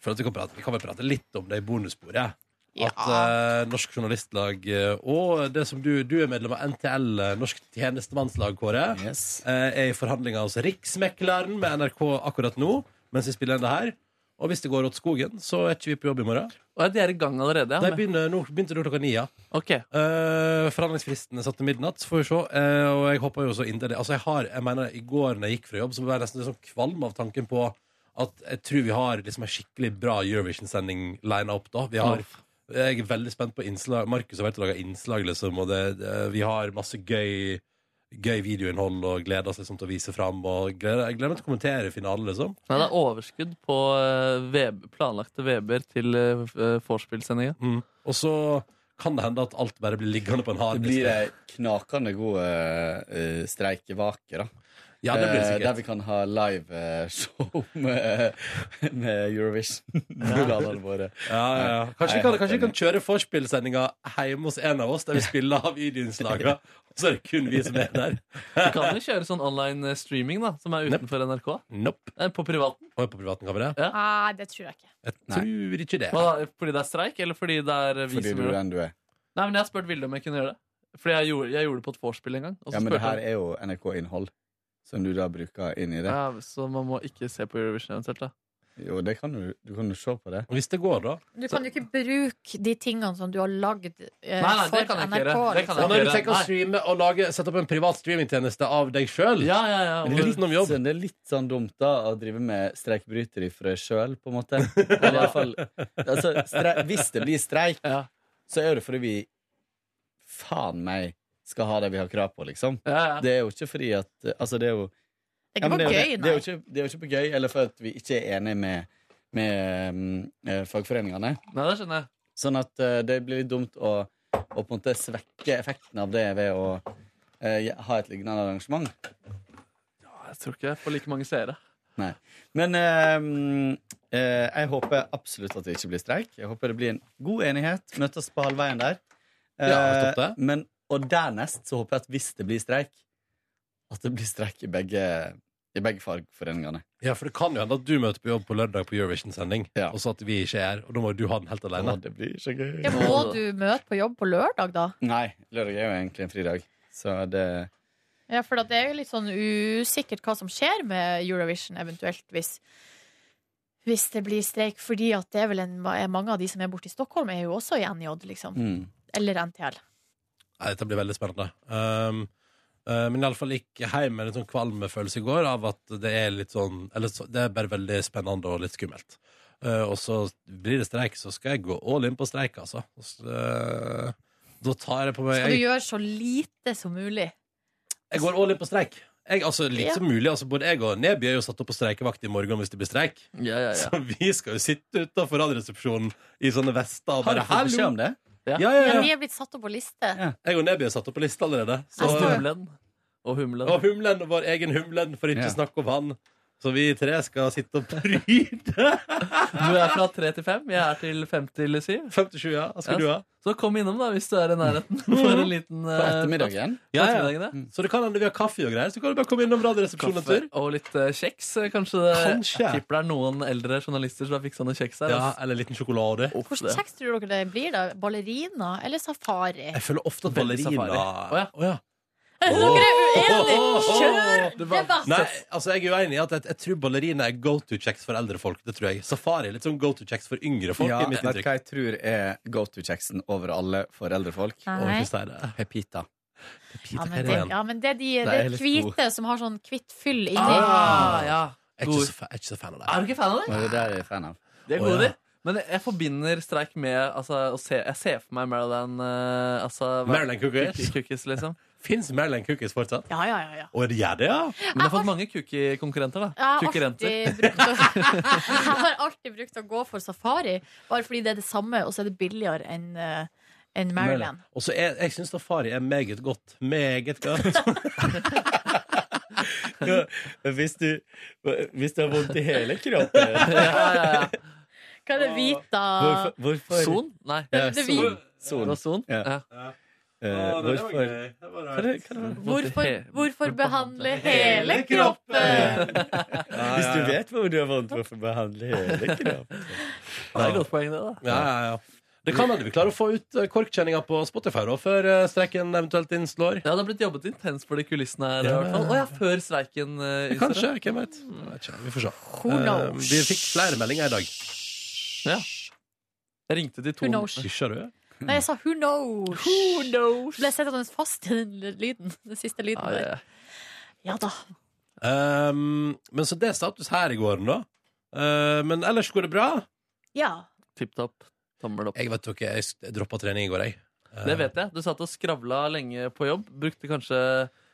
for at vi, kan prate, vi kan vel prate litt om det i bonussporet. At eh, Norsk Journalistlag eh, og det som du, du er medlem av NTL, eh, Norsk Tjenestemannslag, Kåre, eh, er i forhandlinger hos Riksmekleren med NRK akkurat nå, mens vi spiller inn det her. Og hvis det går åt skogen, så er ikke vi på jobb i morgen. Og de er i gang allerede? De begynner, nå, begynte nå klokka ni, ja. Eh, forhandlingsfristen er satt til midnatt, så får vi se. Eh, og jeg håper jo så inderlig Altså, jeg har Jeg mener, i går når jeg gikk fra jobb, så var jeg nesten litt sånn kvalm av tanken på at jeg tror vi har liksom en skikkelig bra Eurovision-sending lina opp da. Vi har jeg er veldig spent på innslag. Markus har vært og laga innslag, liksom. Og det, det, vi har masse gøy, gøy videoinnhold og gleder oss liksom til å vise fram. Og gleder, jeg gleder meg til å kommentere finalen, liksom. Nei, det er overskudd på eh, veb, planlagte VB-er til uh, vorspiel-sendinga. Mm. Og så kan det hende at alt bare blir liggende på en hard Det blir ei knakende god eh, streikevake, da. Ja, det blir det Eh, sikkert. der vi kan ha liveshow med, med Eurovision-programmene våre. Ja, ja, ja. Kanskje, vi kan, kanskje vi kan kjøre vorspiel-sendinga hjemme hos en av oss, der vi spiller av videoinnslaga. Så er det kun vi som er der. Du kan jo kjøre sånn online streaming, da, som er utenfor NRK. Nope. Eh, På privaten. Og på privaten kan vi det? Nei, Ah, det tror jeg ikke. Jeg tror ikke det. Hva da, fordi det er streik, eller fordi det er vi Fordi som du gjør er det? den du er. Nei, men jeg har spurt Vilde om jeg kunne gjøre det. Fordi jeg gjorde, jeg gjorde det på et vorspiel en gang. og så Ja, men spurte det her jeg- er jo NRK-innhold som du da bruker inn i det. Ja, så man må ikke se på Eurovision eventuelt, da. Jo, det kan du, du kan jo se på det. Hvis det går, da. Du kan jo ikke bruke de tingene som du har lagd Nei, eh, nei, det for kan jeg ikke NRK. gjøre. Det kan jeg ikke liksom. gjøre. Når du tenker å streame og lage, sette opp en privat streamingtjeneste av deg sjøl ja, ja, ja. Det er litt utenom jobb. Så det er litt sånn dumt da å drive med streikbryter for deg sjøl, på en måte. Eller i hvert fall, altså, stre- hvis det blir streik, så er det fordi vi faen meg skal ha det vi har krav på, liksom. Ja, ja. Det er jo ikke fordi at Altså, det er jo Det er ikke Ja, men på det er gøy, jo det. Det er jo ikke, det er jo ikke på gøy, eller for at vi ikke er enige med, med mm, eh, fagforeningene. Nei, det skjønner jeg. Sånn at eh, det blir litt dumt å, å på en måte svekke effekten av det ved å eh, ha et lignende arrangement. Jeg tror ikke jeg får like mange seere. Nei. Men eh, mm, eh, jeg håper absolutt at det ikke blir streik. Jeg håper det blir en god enighet. Møtes på halvveien der. Ja, topp det. men, og dernest så håper jeg at hvis det blir streik, at det blir streik i begge, i begge fagforeningene. Ja, for det kan jo hende at du møter på jobb på lørdag på Eurovision-sending, og så at vi ikke er her, og da må jo du ha den helt alene. det blir så gøy. Ja, må du møte på jobb på lørdag, da? Nei, lørdag er jo egentlig en fridag. Så det Ja, for at det er jo litt sånn usikkert hva som skjer med Eurovision eventuelt hvis hvis det blir streik, fordi at det er vel en, er mange av de som er borte i Stockholm, er jo også i NJ, liksom. Mm. Eller NTL. Nei, dette blir veldig spennende. Um, uh, men iallfall gikk hjem med en litt sånn kvalmefølelse i går av at det er litt sånn Eller så, det er bare veldig spennende og litt skummelt. Uh, og så blir det streik, så skal jeg gå all in på streik, altså. Og Så, uh, da tar jeg på meg Skal du jeg, gjøre så lite som mulig? jeg går all in på streik. Jeg, altså, litt Ja. som mulig, altså, Både jeg og Neby er jo satt opp på streikevakt i morgen hvis det blir streik. Ja, ja, ja. Så vi skal jo sitte utafor radioresepsjonen i sånne vester og Har du bare fått beskjed om det? Ja, ja, Ja, ja. vi er blitt satt opp på liste. Jeg og Nebby er satt opp på lista allerede. Og humlen. Og humlen. Og humlen, og vår egen humlen, for ikke Ja. snakke om han. Så vi tre skal sitte og pryde. Du er fra tre til fem. Jeg er til fem til syv. Fem til sju, ja. Hva skal du ha? Så kom innom, da, hvis du er i nærheten. For en liten eh, plass. På Ja, ettermiddagen, ja. ja. Så det kan hende vi har kaffe og greier. Så kan du bare komme innom Radioresepsjonen en Kaffe tur. og litt eh, kjeks. eh, Kanskje det Kanskje. Jeg tipper det er noen eldre journalister som har fiksa noen kjeks her. Ja, eller liten sjokolade. Hvordan kjeks tror dere det blir, da? Ballerina eller safari? Jeg føler ofte at Veldig ballerina safari. Å ja. Er dere uenige? Kjør debatt! Nei, altså jeg er uenig i at jeg, jeg tror ballerina er go to checks for eldre folk. Det tror jeg. Safari er litt sånn go to checks for yngre folk. ja, er mitt vet du inntrykk. hva jeg tror er go to-kjeksen over alle foreldrefolk? Nei. Å, ikke si Pepita. Ja, men det, ja, men det er Nei, de det jeg er er litt hvite som har sånn hvitt fyll inni. Ah, ja. Jeg er ikke så fa- jeg er ikke så fan av det. Er du ikke fan av det? Nei, det er jeg fan av. De er Å, gode, ja. de. Men jeg forbinder streik med altså, å se, Jeg ser for meg Maryland uh, altså, hva- Maryland cookies. Cook- cookies liksom. Fins Maryland cookies fortsatt? Ja, ja, ja, ja. Og det gjør det, ja? Men det har fått mange cookie-konkurrenter, da. Jeg har, alltid Cookie-renter. brukt å, jeg har alltid brukt å gå for safari, bare fordi det er det samme, og så er det billigere enn eh, enn Maryland. Og så er, jeg syns safari er meget godt. Meget godt. Hvis du, hvis du har vondt i hele kroppen Hva er det hvita Hvorfor, hvorfor? Son? Nei. Ja, Det er son. hvit. Son. Ja. Eh, Å, det var hvorfor gøy. Det Eh, var Hva er det- hva er det- Hvorfor, hvorfor behandle hele kroppen? Hvis du vet hvor du har vondt, hvorfor behandle hele kroppen? Det er et godt poeng, det, da. Ja, ja, ja. Det kan hende vi klarer å få ut eh, korkkjenninga på Spotify da, før eh, strekken eventuelt innslår. Ja, det har blitt jobbet intenst for de kulissene her. Ja, i hvert fall. Å ja, før streiken uh, Kanskje. Hvem vet. Jeg vet ikke, vi får se. Who Eh, knows? vi fikk flere meldinger i dag. Ja. Jeg ringte de to Who knows? Hysja du? Nei, jeg sa who knows? Who knows? Ble sett fast i den lyden, den siste lyden Ja, ja, ja. der. Ja da. Um, men så det er status her i gården, da. Eh, men ellers går det bra. Ja. Tipp topp. Tommel opp. Jeg vet dere, jeg s- jeg droppa trening i går, jeg. Eh, Det vet jeg. Du satt og skravla lenge på jobb. Brukte kanskje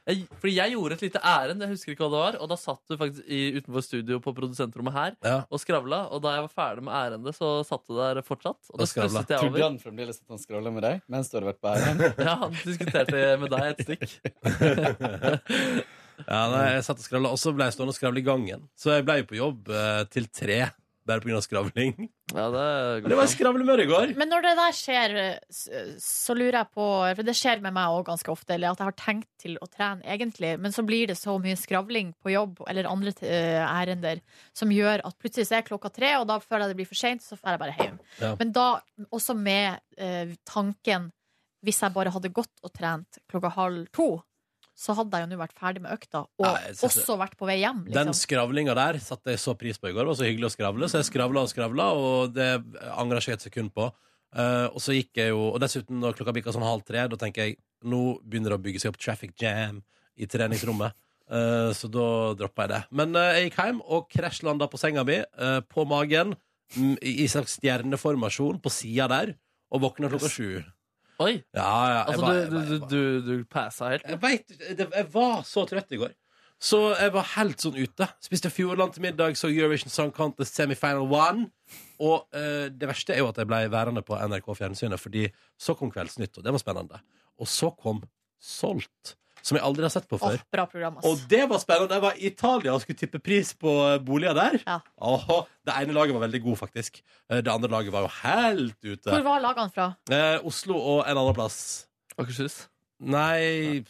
jeg, Fordi jeg gjorde et lite ærend, jeg husker ikke hva det var. Og da satt du faktisk i, utenfor studio på produsentrommet her Ja. og skravla. Og da jeg var ferdig med ærendet, så satt du der fortsatt. Og da stusset jeg Trodde over. han fremdeles at han skravla med deg mens du hadde vært på æren? Ja, han diskuterte med deg et stikk. Ja, nei, jeg satt og skravla, og så ble jeg stående og skravle i gangen. Så jeg ble jo på jobb eh, til tre, bare pga. skravling. Ja, det, det var en skravlemør i går. Men når det der skjer, s- så lurer jeg på For det skjer med meg òg ganske ofte, eller at jeg har tenkt til å trene egentlig, men så blir det så mye skravling på jobb eller andre t- eh, ærender som gjør at plutselig så er klokka tre, og da føler jeg det blir for seint, så drar jeg bare hjem. Ja. Men da også med eh, tanken hvis jeg bare hadde gått og trent klokka halv to, så hadde jeg jo nå vært ferdig med økta, og Nei, jeg synes det- også vært på vei hjem. Den Liksom. skravlinga der satte jeg så pris på i går. Det var så hyggelig å skravle, så jeg skravla og skravla, og det angra ikke et sekund på. Eh, og så gikk jeg jo Og dessuten, når klokka bikka sånn halv tre, da tenker jeg nå begynner det å bygge seg opp traffic jam i treningsrommet. Eh, så da droppa jeg det. Men eh, jeg gikk hjem og krasjlanda på senga mi, eh, på magen, mm, i i slags stjerneformasjon på sida der, og våkna klokka sju. Oi! Ja, ja. jeg Altså, var- du, du, du, du, du passa helt? Jeg vet, det- jeg var så trøtt i går. Så jeg var helt sånn ute. Spiste Fjordland til middag, så Eurovision Song Contest semifinal one. Og eh, det verste er jo at jeg ble værende på NRK Fjernsynet, fordi så kom Kveldsnytt, og det var spennende. Og så kom Solgt, som jeg aldri har sett på før. Bra program, ass. Og det var spennende. Jeg var i Italia og skulle tippe pris på eh, boliger der. Åhå, det ene laget var veldig god, faktisk. Eh, Det andre laget var jo helt ute. Hvor var lagene fra? Eh, Oslo og en annen plass. Akershus? Nei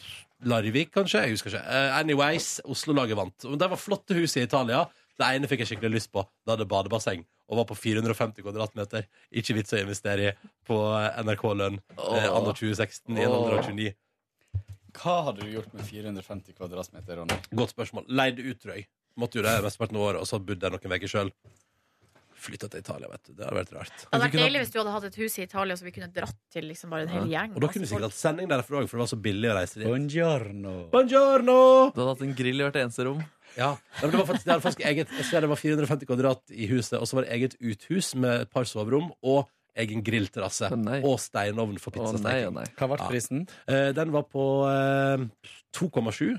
Larvik, kanskje? Jeg husker ikke. Eh, anyways, Oslo-laget vant. Og Det var flotte hus i Italia. Det ene fikk jeg skikkelig lyst på. Det hadde badebasseng og var på 450 kvadratmeter. Ikke vits å investere i på eh, NRK-lønn eh, Åh. anno 2016 i en alder av 29. Hva hadde du gjort med 450 kvadratmeter, Ronny? Godt spørsmål. Leide ut, tror jeg. Måtte jo det mesteparten av året, og så bodde jeg noen uker sjøl. Flytta til Italia, vet du. Det hadde vært rart. Det hadde vært deilig hvis du hadde hatt et hus i Italia som vi kunne dratt til liksom bare en hel gjeng. Og da masse kunne vi folk. sikkert hatt sending derfra òg, for det var så billig å reise dit. Buongiorno. Buongiorno! Du hadde hatt en grill i hvert eneste rom. Ja. Nei, men det var faktisk, det hadde faktisk eget, jeg ser det var 450 kvadrat i huset, og så var det eget uthus med et par soverom og egen grillterrasse. Og steinovn for pizzasteking. Hva ble prisen? Eh, Den var på eh, 2,7.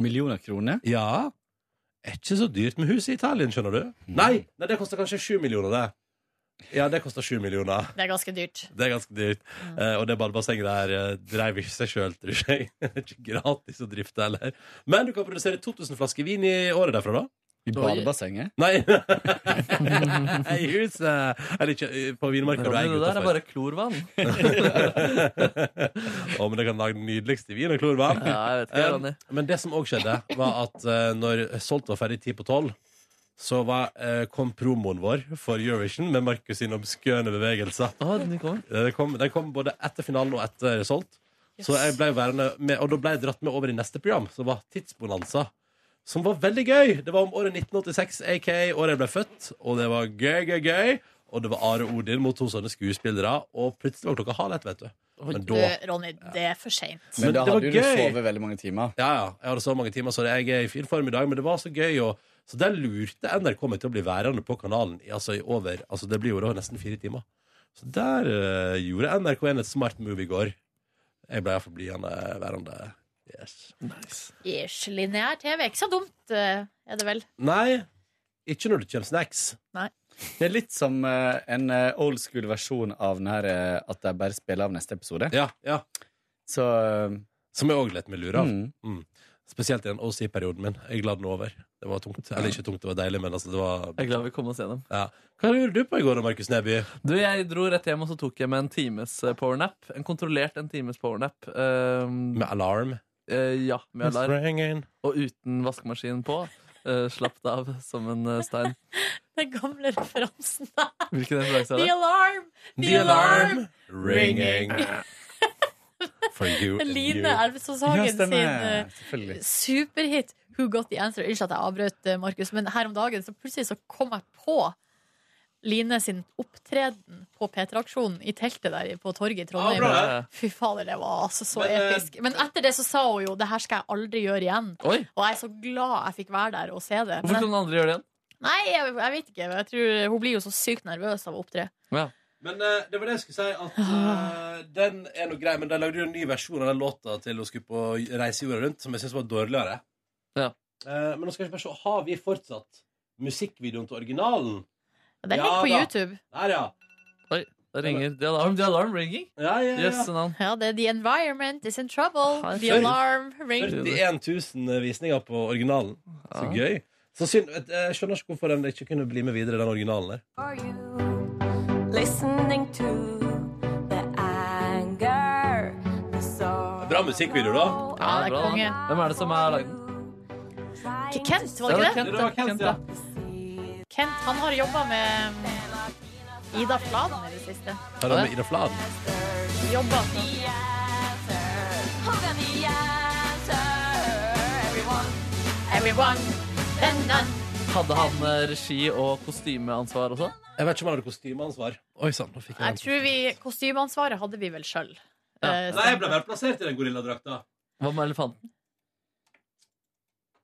Millioner kroner? Ja. Er ikke så dyrt med hus i Italien, skjønner du. Nei, nei det koster kanskje 7 millioner, det. Ja, det koster 7 millioner. Det er ganske dyrt. Det er ganske dyrt. Eh, og det badebassenget der eh, dreiv ikke seg sjøl, tror jeg. Det er ikke gratis å drifte heller. Men du kan produsere 2000 flasker vin i året derfra, da. I badebassenget? Nei! I huset! Eller ikke eh, på vinmarka. Ronny, det der er bare klorvann. Å, men det kan lage den nydeligste vin og klorvann. Ja, jeg vet ikke, Ronny. Eh, men det som òg skjedde, var at eh, når Solgt var ferdig ti på tolv, så var, eh, kom promoen vår for Eurovision med Markus sine obskøne bevegelser. den, kom. Eh, Den, kom, både etter finalen og etter Solgt. Så jeg ble værende med, og da ble jeg dratt med over i neste program, som var Tidsbonanza. Som var veldig gøy! Det var om året 1986, aka året jeg ble født. Og det var gøy, gøy, gøy. Og det var Are Odin mot to sånne skuespillere. Og plutselig var klokka halv ett, vet du. Men da Du, Ronny, det er for seint. Men Men da det var hadde du gøy. sovet veldig mange timer. Ja, ja. Jeg hadde så mange timer, så jeg er i fin form i dag, men det var så gøy. Og, så der lurte NRK meg til å bli værende på kanalen i, altså, i over altså, Det blir jo da nesten fire timer. Så der eh, gjorde NRK1 et smart move i går. Jeg ble iallfall blidende værende. Yes. Ish, lineær TV. Ikke så dumt, eh, er det vel? Nei, ikke når det kommer snacks. Nei. Det er litt som eh, en eh, old school versjon av den her eh, at de bare spiller av neste episode. Ja, ja. Så eh, Som jeg òg lett med lurer av. Mm. Mm. Spesielt i den OC-perioden min. Jeg er glad den er over. Det var tungt. Eller ikke tungt, det var deilig, men altså, det var Jeg er glad vi kom oss gjennom. ja. Hva gjorde du på i går da, Markus Neby? Du, Jeg dro rett hjem og så tok jeg meg en times eh, powernap. En kontrollert en times powernap. Um, med alarm? ja, med It's alarm. ringing. Og uten vaskemaskin på. Eh, slapp det av som en eh, stein. Den gamle referansen der. Hvilken The referanse er det? alarm! The alarm ringing. For you and you. Line Elvestad Sagen Ja, sin stemmer. eh, Selvfølgelig. superhit Who Got The Answer. Unnskyld at jeg avbrøt, eh, Markus, men her om dagen så plutselig så kom jeg på Line sin opptreden på P3-aksjonen i teltet der på torget i Trondheim. Ja, Ah, bra, ja. Fy fader, det var altså så Men, eh, episk. Men etter det så sa hun jo 'det her skal jeg aldri gjøre igjen'. Oi. Og jeg er så glad jeg fikk være der og se det. Hvorfor kan Men, den andre gjøre det igjen? nei, jeg, jeg vet ikke. Jeg tror Hun blir jo så sykt nervøs av å opptre. Men eh, det var det jeg skulle si, at Ah. eh, den er noe grei, men de lagde jo en ny versjon av den låta til hun skulle på reise jorda rundt, som jeg syns var dårligere. Eh, men nå skal jeg bare se, har vi fortsatt musikkvideoen til originalen? Den ligger på da. YouTube. Der, ja. Oi, det ringer. The alarm, the alarm ringing. Ja, ja, ja. Jøsse navn. Ja, det er The Environment Is In Trouble. The Før- Alarm Ring. 41 000 visninger på originalen. Så Ja. gøy. Så synd, jeg skjønner ikke hvorfor den ikke kunne bli med videre, den originalen der. Listening to the anger, the sorrow. Bra musikkvideo, da. Ja, det er bra, da. konge. Hvem er det som er lagd? Til Kent, var Ja, det ikke det var det? Kent, det var Kent, ja. Kent, han har jobba med mm, Ida Fladen i det siste. Hva er det med Ida Fladen? Jobber. Who got the answer? Everyone. Everyone. Then none. Hadde han eh, regi og kostymeansvar også? Jeg vet ikke om han hadde kostymeansvar. Oi sann, nå fikk jeg Jeg tror vi, Kostymeansvaret hadde vi vel Eh, sjøl. Ja. Nei, jeg ble bare plassert i den gorilladrakta. Hva med elefanten?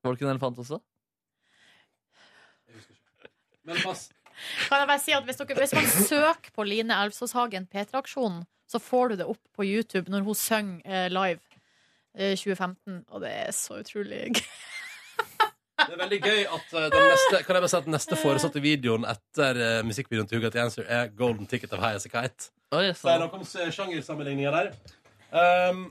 Var det ikke en elefant også? Men pass. Kan jeg bare si at hvis, dere, hvis man søker på Line Elvsåshagen P3-aksjonen, så får du det opp på YouTube når hun synger eh, live eh, 2015, og det er så utrolig gøy. Det er veldig gøy at eh, den neste, kan jeg bare si at den neste foresatte videoen etter eh, musikkvideoen til Hugat Answer er Golden Ticket of High As A Kite. Så er det noe om eh, sjangersammenligninger der. Ehm,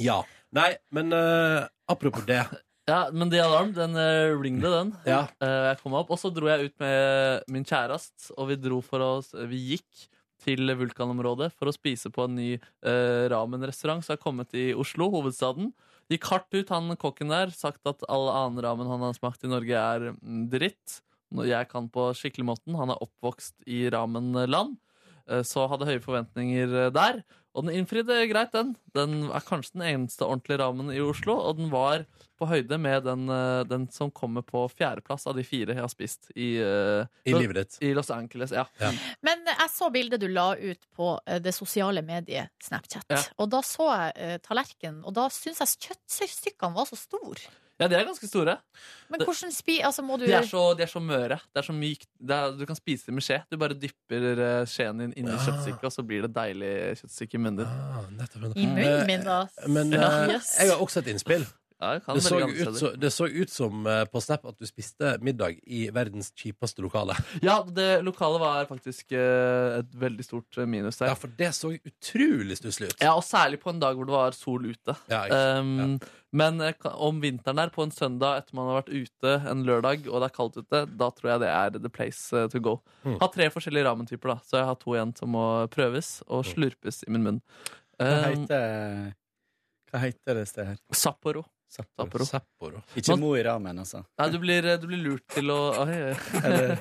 ja. Nei, men eh, apropos det. Ja, men The Alarm, den eh, ringte, den. Ja. Eh, jeg kom meg opp, Og så dro jeg ut med min kjærest, og vi dro for oss Vi gikk til vulkanområdet for å spise på en ny eh, ramen-restaurant som er kommet i Oslo, hovedstaden. Gikk hardt ut, han kokken der. Sagt at all annen ramen han har smakt i Norge, er mm, dritt. Når jeg kan på skikkelig måten. Han er oppvokst i ramenland. Eh, Så hadde høye forventninger eh, der. Og den innfridde greit, den. Den er kanskje den eneste ordentlige ramen i Oslo. Og den var på høyde med den, eh, den som kommer på fjerdeplass av de fire jeg har spist i, eh, I livet ditt. I Los Angeles, ja. Men jeg så bildet du la ut på eh, det sosiale mediet Snapchat. Ja. Og da så jeg eh, tallerkenen, og da syns jeg kjøttstykkene var så store. Ja, de er ganske store. Men hvordan spi... Altså, må du De er så, de er så møre. Det er så mykt. Det er, du kan spise det med skje. Du bare dypper eh, skjeen din inn i Ah. kjøttstykket, og så blir det deilig kjøttstykke i munnen din. I munnen min, da. Eh, Men Ja. eh, Ah, Yes. jeg har også et innspill. det kan Det så, veldig andre ut, steder. så, det så ut som eh, på Snap at du spiste middag i verdens kjipeste lokale. Ja, det lokalet var faktisk eh, et veldig stort eh, minus der. Ja, for det så utrolig stusslig ut. Ja, og særlig på en dag hvor det var sol ute. um, Men eh, ka- om vinteren der, på en søndag etter man har vært ute en lørdag, og det er kaldt ute, da tror jeg det er the place eh, to go. Mm. Har tre forskjellige ramentyper, da, så jeg har to igjen som må prøves og Mm. slurpes i min munn. Hva Eh. Um, heter, hva heter det stedet her? Sapporo. Sapporo. Sapporo. Ikke Mo i Ramen, altså. Nei, du blir, eh, du blir lurt til å Oi, oi.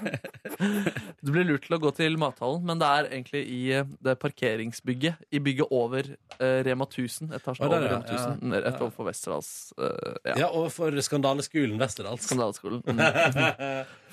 Du blir lurt til å gå til mathallen, men det er egentlig i eh, det parkeringsbygget. I bygget over eh, Rema 1000. Etasjen Å, der, over ja, Rema 1000. ja. Rett overfor Westerdals. eh, Ja, overfor Skandaleskolen Westerdals. Skandaleskolen. Mm.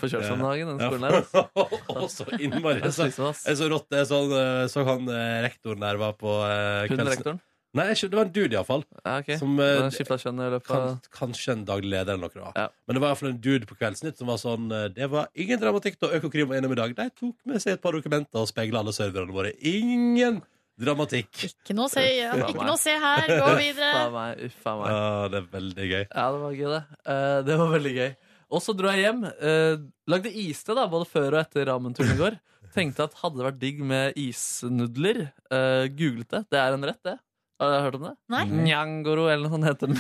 Får kjørt seg om dagen, den skolen altså. her, her. Og så innmari. Det er Så, slitsomt, ass. jeg så rått det. Så, han, eh, så han eh, rektoren der var på eh, Hun kvelds- rektoren? Nei, ikke- det var en dude, iallfall. Ja, ok. Som eh, Den skiftet kjønn i løpet av- kan, Kanskje en daglig leder eller noe. Da. Men det var iallfall en dude på Kveldsnytt som var sånn eh, Det var ingen dramatikk da Økokrim var innom i dag. De tok med seg et par dokumenter og speila alle serverne våre. Ingen dramatikk. Ikke noe å si, ja. Faen Ikke meg. noe å si her. Gå videre. Uffa meg, uffa meg. Ah, det er veldig gøy. Ja, det var gøy, det. Eh, det var veldig gøy. Og så dro jeg hjem. eh, lagde iste da, både før og etter ramenturen i går. Tenkte at hadde det vært digg med isnudler. eh, googlet det. Det er en rett, det. Har dere hørt om det? Nei. Njangoro, eller noe sånt heter den.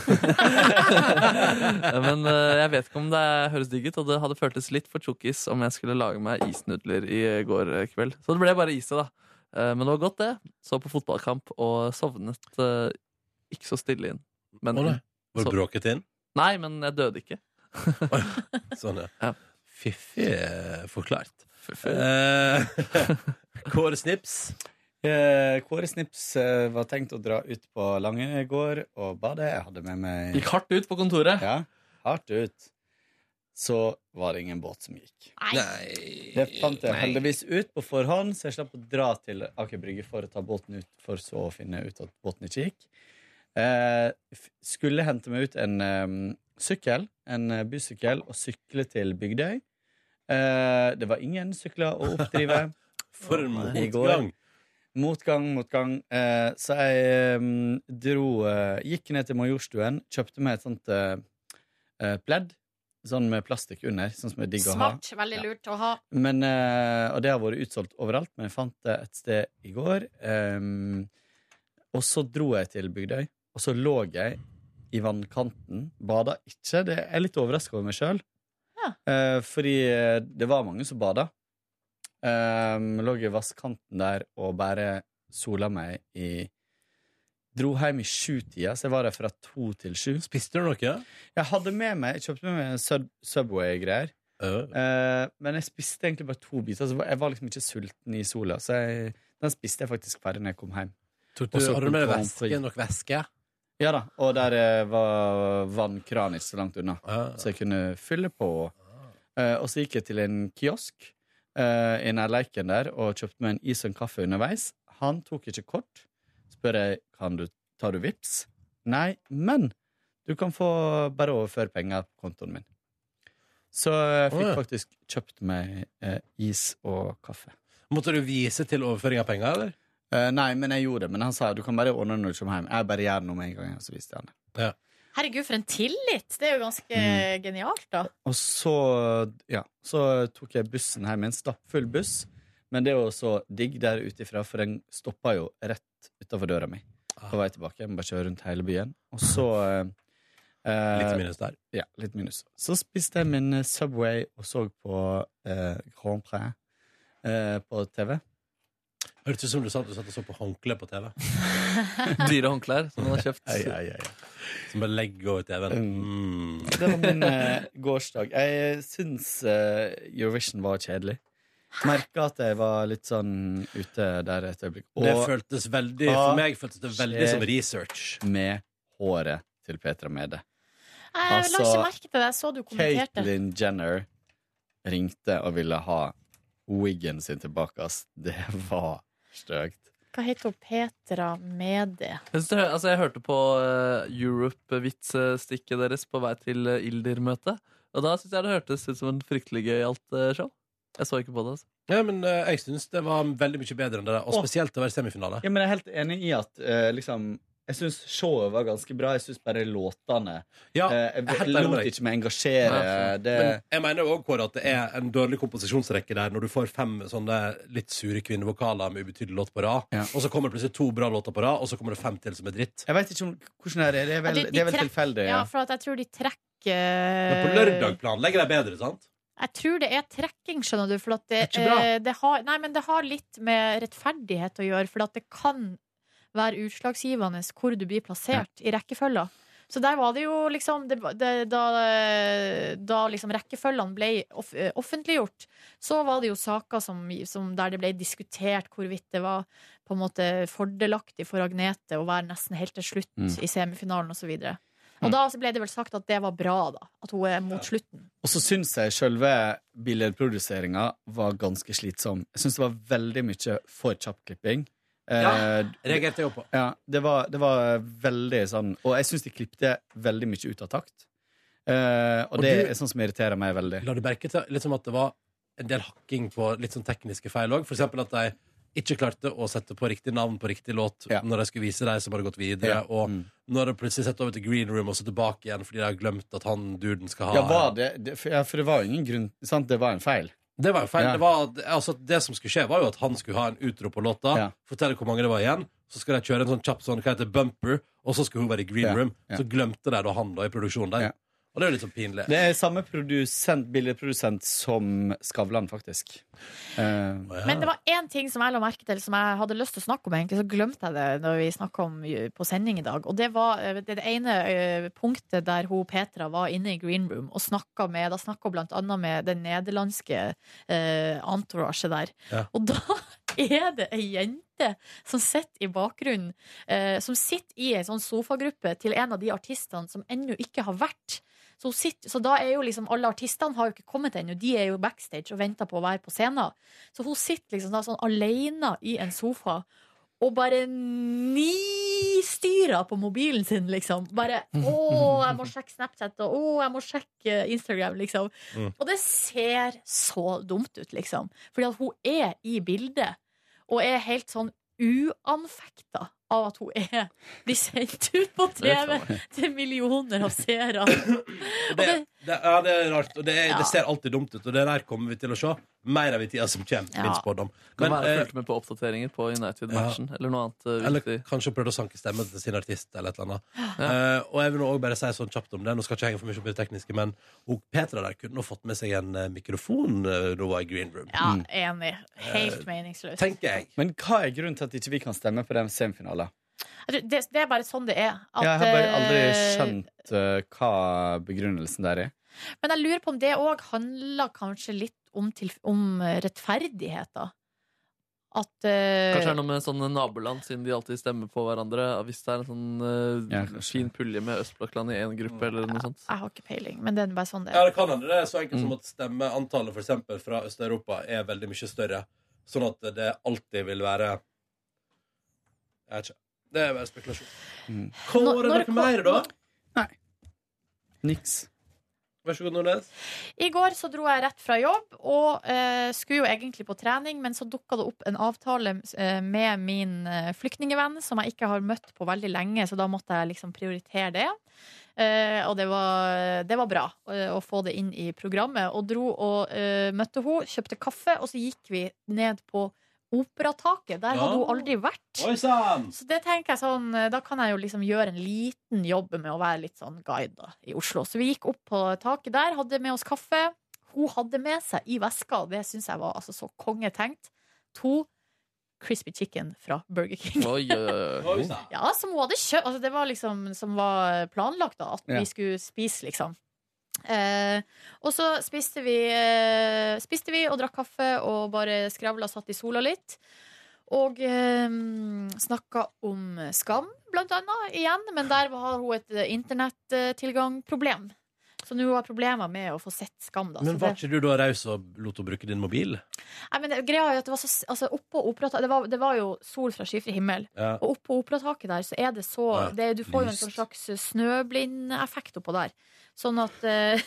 Men eh, jeg vet ikke om det høres digg ut, og det hadde føltes litt for tjukkis om jeg skulle lage meg isnudler i går eh, kveld. Så det ble bare ise, da. Eh, men det var godt, det. Så på fotballkamp og sovnet eh, ikke så stille inn. Men, Å, nei. Var det så- bråket inn? Nei, men jeg døde ikke. Sånn, ja. Fiffig eh, forklart. Eh, Kåre Snips. Eh, Kåre Snips eh, var tenkt å dra ut på Langøy i går og bade. Jeg hadde med meg Gikk hardt ut på kontoret. Ja, hardt ut. Så var det ingen båt som gikk. Det fant jeg Nei. heldigvis ut på forhånd, så jeg slapp å dra til Aker Brygge for å ta båten ut, for så å finne ut at båten ikke gikk. Eh, f- skulle hente meg ut en em, sykkel, en eh, bysykkel, og sykle til Bygdøy. Eh, det var ingen sykler å oppdrive. For en i går. motgang. Motgang, motgang. Eh, så jeg em, dro eh, Gikk ned til Majorstuen, kjøpte meg et sånt eh, eh, pledd. Sånn med plastikk under. Sånn som er digg å ha. Smart. Veldig lurt å ha. Men, eh, og det har vært utsolgt overalt, men jeg fant det et sted i går. Ehm, og så dro jeg til Bygdøy, og så lå jeg i vannkanten. Bada ikke. Det jeg er litt overraska over meg sjøl. fordi eh, det var mange som bada. Um, lå i vannkanten der og bare sola meg i Dro hjem i sjutida, så jeg var der fra to til sju. Spiste du noe? Jeg hadde med meg, jeg kjøpte med meg sub Subway-greier. Eh, men jeg spiste egentlig bare to biter. Så jeg var liksom ikke sulten i sola, så jeg Den spiste jeg faktisk ferdig når jeg kom hjem. Tok du- Og så har du med deg Grand væske, Prix. nok væske? Ja da. Og der eh, var vannkranen ikke så langt unna, så jeg kunne fylle på. Eh, og så gikk jeg til en kiosk eh, i nærleiken der og kjøpte meg en is og en kaffe underveis. Han tok ikke kort. Spør jeg kan du tar du vips? Nei, men du kan få bare overføre penger på kontoen min. Så jeg fikk Å, ja. faktisk kjøpt meg eh, is og kaffe. Eh, Måtte du vise til overføring av penger, eller? nei, men jeg gjorde det. Men han sa du kan bare ordne det når du kommer hjem. Jeg bare gjør det nå med en gang. Og så viste jeg han det. Herregud, for en tillit! Det er jo ganske Mm. genialt, da. Og så, ja, så tok jeg bussen hjem, en stappfull buss. Men det er jo så digg der ute ifra, for den stoppa jo rett utafor døra mi. På vei tilbake. Jeg må bare kjøre rundt hele byen. Og så eh, eh, Litt minus der. Ja, litt minus. Så spiste jeg min eh, Subway og så på eh, Grand Prix eh, på TV. Hørtes ut som du sa at du satt og så på håndkle på TV. Dyre håndklær som man har kjøpt. Ei, ei, ei. Som bare legger over TV-en. Mm. Det var min eh, gårsdag. Jeg syns eh, Eurovision var kjedelig. Merka at jeg var litt sånn ute der et øyeblikk. Det føltes veldig- for meg føltes det veldig som research. Med håret til Petra Mede. Jeg la ikke merke til det. Jeg så du kommenterte. Caitlyn Jenner ringte og ville ha wiggen sin tilbake, ass. Det var støkt. Hva heter hun? Petra Mede. Jeg, synes det, hø- altså, jeg hørte på eh, Europe-vitsestikket deres på vei til eh, Ildir-møtet. Og da syns jeg det hørtes ut som en fryktelig gøyalt eh, show. Jeg så ikke på det. altså. Ja, men eh, jeg syns det var veldig mye bedre enn det der, og Åh. spesielt å være semifinale. Ja, men jeg er helt enig i at eh, liksom jeg syns showet var ganske bra. Jeg syns bare låtene Ja, eh, Jeg, jeg er helt enig med lot deg. ikke meg engasjere. Nei, det, Men jeg mener òg, Kåre, at det er en dårlig komposisjonsrekke der når du får fem sånne litt sure kvinnevokaler med ubetydelig låt på rad, og så kommer det plutselig to bra låter på rad, og så kommer det fem til som er dritt. Jeg vet ikke om, hvordan det er. Det er Ja, vel, de- de det er vel trekk- tilfeldig. Ja, Ja. for at jeg tror de trekker Men Eh. på lørdag planlegger de bedre, sant? Jeg tror det er trekking, skjønner du. For at det, Det er ikke bra. eh, det, har, nei, men det har litt med rettferdighet å gjøre. For at det kan være utslagsgivende hvor du blir plassert i rekkefølga. Så der var det jo liksom det, var- det, da, da liksom rekkefølgene ble off, eh, offentliggjort, så var det jo saker som, som der det ble diskutert hvorvidt det var på en måte fordelaktig for Agnete å være nesten helt til slutt Mm. i semifinalen osv. Og, Mm. og da ble det vel sagt at det var bra, da. At hun er mot slutten. Og så syns jeg selve billedproduseringa var ganske slitsom. Jeg syns det var veldig mye for kjapp klipping. Ja, Eh, reagerte jeg også på. Ja, det var, det var veldig sånn Og jeg syns de klippte veldig mye ut av takt. Eh, og, Og det du- er sånn som irriterer meg veldig. La du merke til liksom at det var en del hakking på litt sånn tekniske feil òg? For eksempel at de ikke klarte å sette på riktig navn på riktig låt når de skulle vise de som hadde gått Ja. videre. Mm. Og når de plutselig setter over til green room og så tilbake igjen fordi de har glemt at han duden skal ha Ja, var det, det, for, ja, for det var jo ingen grunn sant? Det var en feil. Det var jo feil. Ja. Det, var, altså, det som skulle skje, var jo at han skulle ha en utro på låta. Fortelle hvor mange det var igjen. Så skal de kjøre en sånn kjapp sånn, hva heter det, bumper, og så skulle hun være i green Ja, room. ja. Så glemte de da han da i produksjonen der. Og det er jo litt sånn pinlig. Det er samme produsent, billedprodusent som Skavlan, faktisk. Eh, Men det var én ting som jeg la merke til, som jeg hadde lyst til å snakke om. egentlig, Så glemte jeg det når vi snakket om eh, på sending i dag. Og det var eh, det ene eh, punktet der hun Petra var inne i green room og snakka med Da snakka hun blant annet med den nederlandske eh, entourage der. Ja. Og da er det ei jente som sitter i bakgrunnen, eh, som sitter i ei sånn sofagruppe til en av de artistene som ennå ikke har vært. Så, hun sitter, så da er jo liksom alle artistene har jo ikke kommet ennå, de er jo backstage og venter på å være på scenen. Så hun sitter liksom da sånn alene i en sofa og bare nistyrer på mobilen sin, liksom. Bare 'Å, jeg må sjekke Snapchat', og 'Å, jeg må sjekke Instagram', liksom. Mm. Og det ser så dumt ut, liksom. Fordi at hun er i bildet, og er helt sånn uanfekta av at hun er blir sendt ut på TV til millioner av seere. Og det, det, ja, det er rart. Og det, er, Ja. det ser alltid dumt ut, og det der kommer vi til å se mer av i tida som kommer. Ja. Min spådom. Kan Men, være eh, fulgt med på oppdateringer på United-matchen eller noe annet. eh, eller viktig. kanskje prøvd å sanke stemmen til sin artist, eller et eller annet. Ja. Eh, og jeg vil nå også bare si sånn kjapt om det, nå skal ikke jeg henge for mye opp i det tekniske, men hun Petra der kunne nå fått med seg en eh, mikrofon eh, da hun var i green room. Ja, Mm. enig. Helt Eh, meningsløst. tenker jeg. Men hva er grunnen til at ikke vi kan stemme på den semifinalen? Jeg tror Det, det er bare sånn det er. at, jeg har bare aldri eh, skjønt eh, hva begrunnelsen der er. Men jeg lurer på om det òg handler kanskje litt om, til, om rettferdighet, da. at eh, Kanskje det er noe med sånne naboland, siden de alltid stemmer på hverandre. Hvis det er en sånn eh, fin pulje med østblokkland i én gruppe, eller noe sånt. Jeg har ikke peiling, men det er bare sånn det Ja, er. det kan hende. Det er så enkelt Mm. som at stemmeantallet for eksempel, fra Øst-Europa er veldig mye større. Sånn at det alltid vil være Jeg vet ikke. Det er bare spekulasjon. Mm. Hva Når- er det når dere kom- mer, da? Niks. Vær så god, Nordnes. I går så dro jeg rett fra jobb og eh, skulle jo egentlig på trening, men så dukka det opp en avtale eh, med min eh, flyktningevenn som jeg ikke har møtt på veldig lenge, så da måtte jeg liksom prioritere det. Eh, og det var, det var bra eh, å få det inn i programmet. Og dro og eh, møtte henne, kjøpte kaffe, og så gikk vi ned på Operataket. Der hadde hun Ja. aldri vært. Oi sann! Så det tenker jeg sånn, da kan jeg jo liksom gjøre en liten jobb med å være litt sånn guide da, i Oslo. Så vi gikk opp på taket der, hadde med oss kaffe. Hun hadde med seg i veska, og det syns jeg var altså så kongetenkt, to crispy chicken fra Burger King. Oi, oi, oi. Ja, som hun hadde kjøpt. Altså, det var liksom som var planlagt, da, at Ja. vi skulle spise, liksom. Eh, og så spiste vi, eh, spiste vi og drakk kaffe og bare skravla og satt i sola litt. Og eh, snakka om skam, blant annet, igjen. Men der har hun et eh, internettilgangproblem. Så nå har hun problemer med å få sett skam. Da. Men Så var Altså, det- ikke du da raus og lot henne bruke din mobil? Nei, men det, greia er jo at det var så altså, oppå operataket det, var- det var jo sol fra skyfri himmel. Ja. Og oppå operataket der så er det så Ja, det, Du får jo en lyst. sånn slags snøblindeffekt oppå der. Sånn at eh,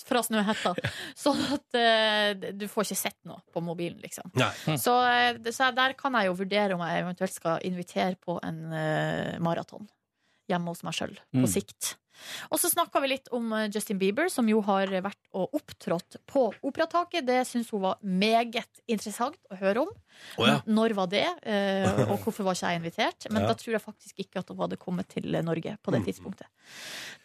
Fra snøhetta. Sånn at eh, du får ikke sett noe på mobilen, liksom. Nei. Så, eh, det- så der kan jeg jo vurdere om jeg eventuelt skal invitere på en eh, maraton hjemme hos meg sjøl, på Mm. sikt. Og så snakka vi litt om eh, Justin Bieber, som jo har vært og opptrådt på Operataket. Det syns hun var meget interessant å høre om. Å ja. N- Når var det, eh, og hvorfor var ikke jeg invitert? Men Ja. Mm. da tror jeg faktisk ikke at hun hadde kommet til eh, Norge på det tidspunktet.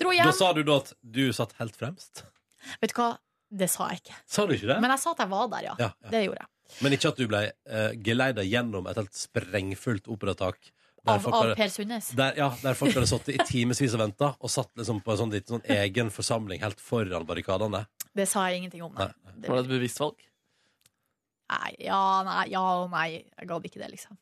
Dro Da hjem. sa du da at du satt helt fremst? Vet du hva, det sa jeg ikke. Sa du ikke det? Men jeg sa at jeg var der, ja. Ja, ja. Det gjorde jeg. Men ikke at du ble uh, geleida gjennom et helt sprengfullt operatak? der Av, folk av hadde- Per Sundnes. Der, ja, der folk hadde sittet i timevis og venta, og satt liksom på en sånn, liten sånn egen forsamling helt foran barrikadene. Det sa jeg ingenting om. Nei. Var det et bevisst valg? Nei, ja, nei, ja og nei. Jeg gadd ikke det, liksom.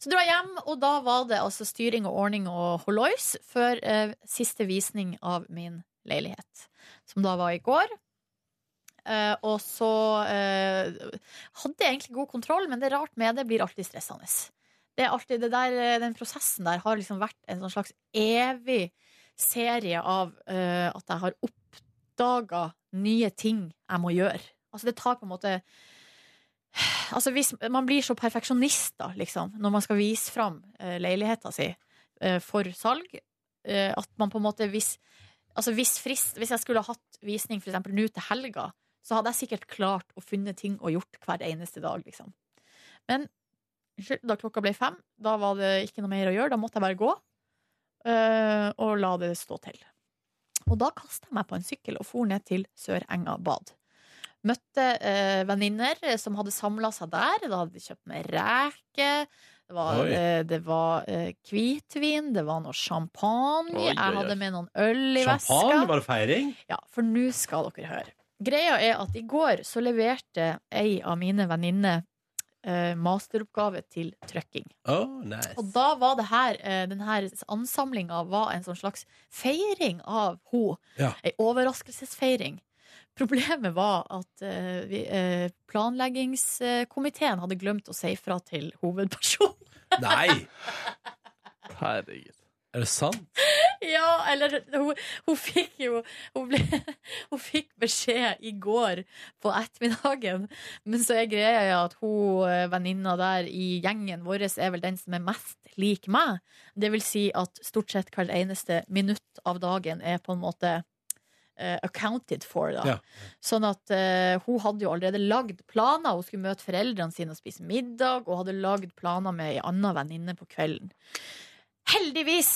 Så dro jeg hjem, og da var det altså styring og ordning og hollois før eh, siste visning av min leilighet, som da var i går. Eh, og så eh, hadde jeg egentlig god kontroll, men det er rart med det blir alltid stressende. Det er alltid, det der, eh, den prosessen der har liksom vært en sånn slags evig serie av eh, at jeg har oppdaga nye ting jeg må gjøre. Altså det tar på en måte Altså hvis Man blir så perfeksjonist da, liksom, når man skal vise fram uh, leiligheta si eh, for salg, eh, at man på en måte hvis, altså hvis, frist, hvis jeg skulle ha hatt visning for eksempel nå til helga, så hadde jeg sikkert klart å funne ting og gjort hver eneste dag. Liksom. Men unnskyld, da klokka ble fem, da var det ikke noe mer å gjøre. Da måtte jeg bare gå eh, og la det stå til. Og da kasta jeg meg på en sykkel og for ned til Sørenga bad. Møtte eh, venninner eh, som hadde samla seg der. Da hadde de kjøpt med reker. Det var, Oi. eh, det var eh, hvitvin, det var noe champagne. Oi, oi, Jeg oi. hadde med noen øl i Champagne? veska. Var det feiring? Ja, for nå skal dere høre. Greia er at i går så leverte ei av mine venninner eh, masteroppgave til trøkking. Oh, nice. Og da var det her eh, Den her ansamlinga var en sånn slags feiring av ho Ja. Ei overraskelsesfeiring. Problemet var at eh, vi, eh, planleggingskomiteen hadde glemt å si fra til hovedpersonen. Nei! Herregud. Er det sant? Ja, eller hun, hun fikk jo hun, ble, hun fikk beskjed i går på ettermiddagen. Men så er greia ja at hun eh, venninna der i gjengen vår er vel den som er mest lik meg. Det vil si at stort sett hvert eneste minutt av dagen er på en måte eh, accounted for, da. Ja. Sånn at eh, hun hadde jo allerede lagd planer. Hun skulle møte foreldrene sine og spise middag, og hadde lagd planer med ei anna venninne på kvelden. Heldigvis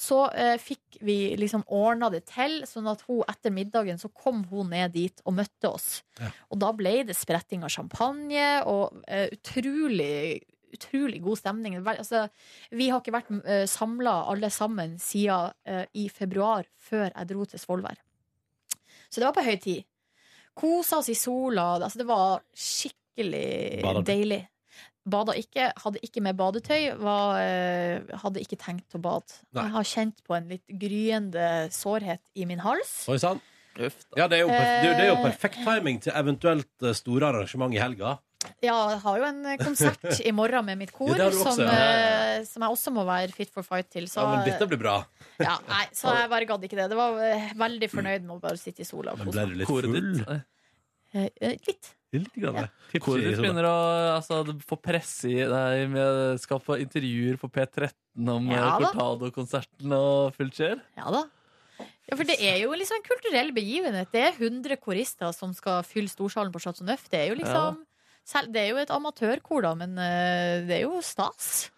så eh, fikk vi liksom ordna det til, sånn at hun etter middagen så kom hun ned dit og møtte oss. Og da ble det spretting av champagne og eh, utrolig Utrolig god stemning. Vel, Altså, vi har ikke vært uh, samla alle sammen siden eh, i februar, før jeg dro til Svolvær. Så det var på høy tid. Kosa oss i sola. Altså, det var skikkelig skikkelig Bader du? deilig. Bada ikke, hadde ikke med badetøy, var, eh, hadde ikke tenkt å bade. Nei. Jeg har kjent på en litt gryende sårhet i min hals. Oi sann. Ja, det er, jo perf- det, er jo- det er jo perfekt timing til eventuelt eh, store arrangement i helga. Ja, jeg har jo en eh, konsert i morgen med mitt kor, Ja, det har du også, som, ja. eh, som jeg også må være fit for fight til. Så, Ja, men dette blir bra. ja, nei, så jeg bare gadd ikke det. Det var eh, veldig fornøyd med å bare sitte i sola og Men kose ble meg. du litt full? Eh, eh, Litt. Litt grann, ja. Koret sånn, ditt begynner å altså, få presse i deg med Skal få intervjuer på P13 om Ja da. Cortado-konserten og fullt skjer. Ja da. Ja, for det er jo liksom en kulturell begivenhet. Det er 100 korister som skal fylle storsalen på Chateau Neuf. Det er jo liksom selv, Det er jo et amatørkor, da, men eh, det er jo stas.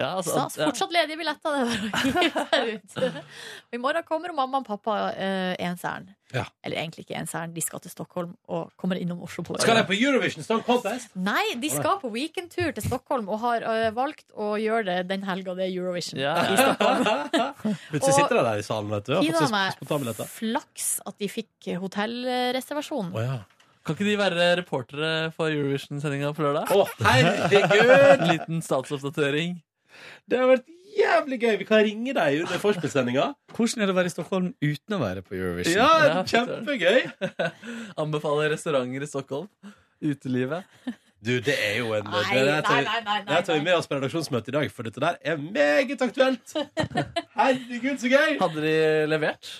Ja, altså, Stas. ja. Fortsatt ledige billetter. Det er bare å hive seg ut. Og I morgen kommer mamma og pappa uh, ens ærend. Ja. Eller egentlig ikke ens ærend, de skal til Stockholm og kommer innom Oslo på Skal de på Eurovision Song Contest? Nei, de skal på weekendtur til Stockholm og har eh, valgt å gjøre det den helga det er Eurovision i Stockholm. Plutselig sitter de der i salen, vet du. og har Gi fått da seg meg spontanbilletter. Flaks at de fikk eh, hotellreservasjon. Å, ja. Kan ikke de være reportere for Eurovision-sendinga på lørdag? Å, herregud! Liten statsoppdatering. Det har vært jævlig gøy! Vi kan ringe deg under forspillsendinga. Hvordan er det å være i Stockholm uten å være på Eurovision? Ja, kjempegøy! Anbefaler restauranter i Stockholm. Utelivet. Du, det er jo en Nei, det, det tar vi- nei, nei, nei, Det her tar vi med oss på redaksjonsmøtet i dag, for dette der er meget aktuelt. Herregud, så gøy! Hadde de levert?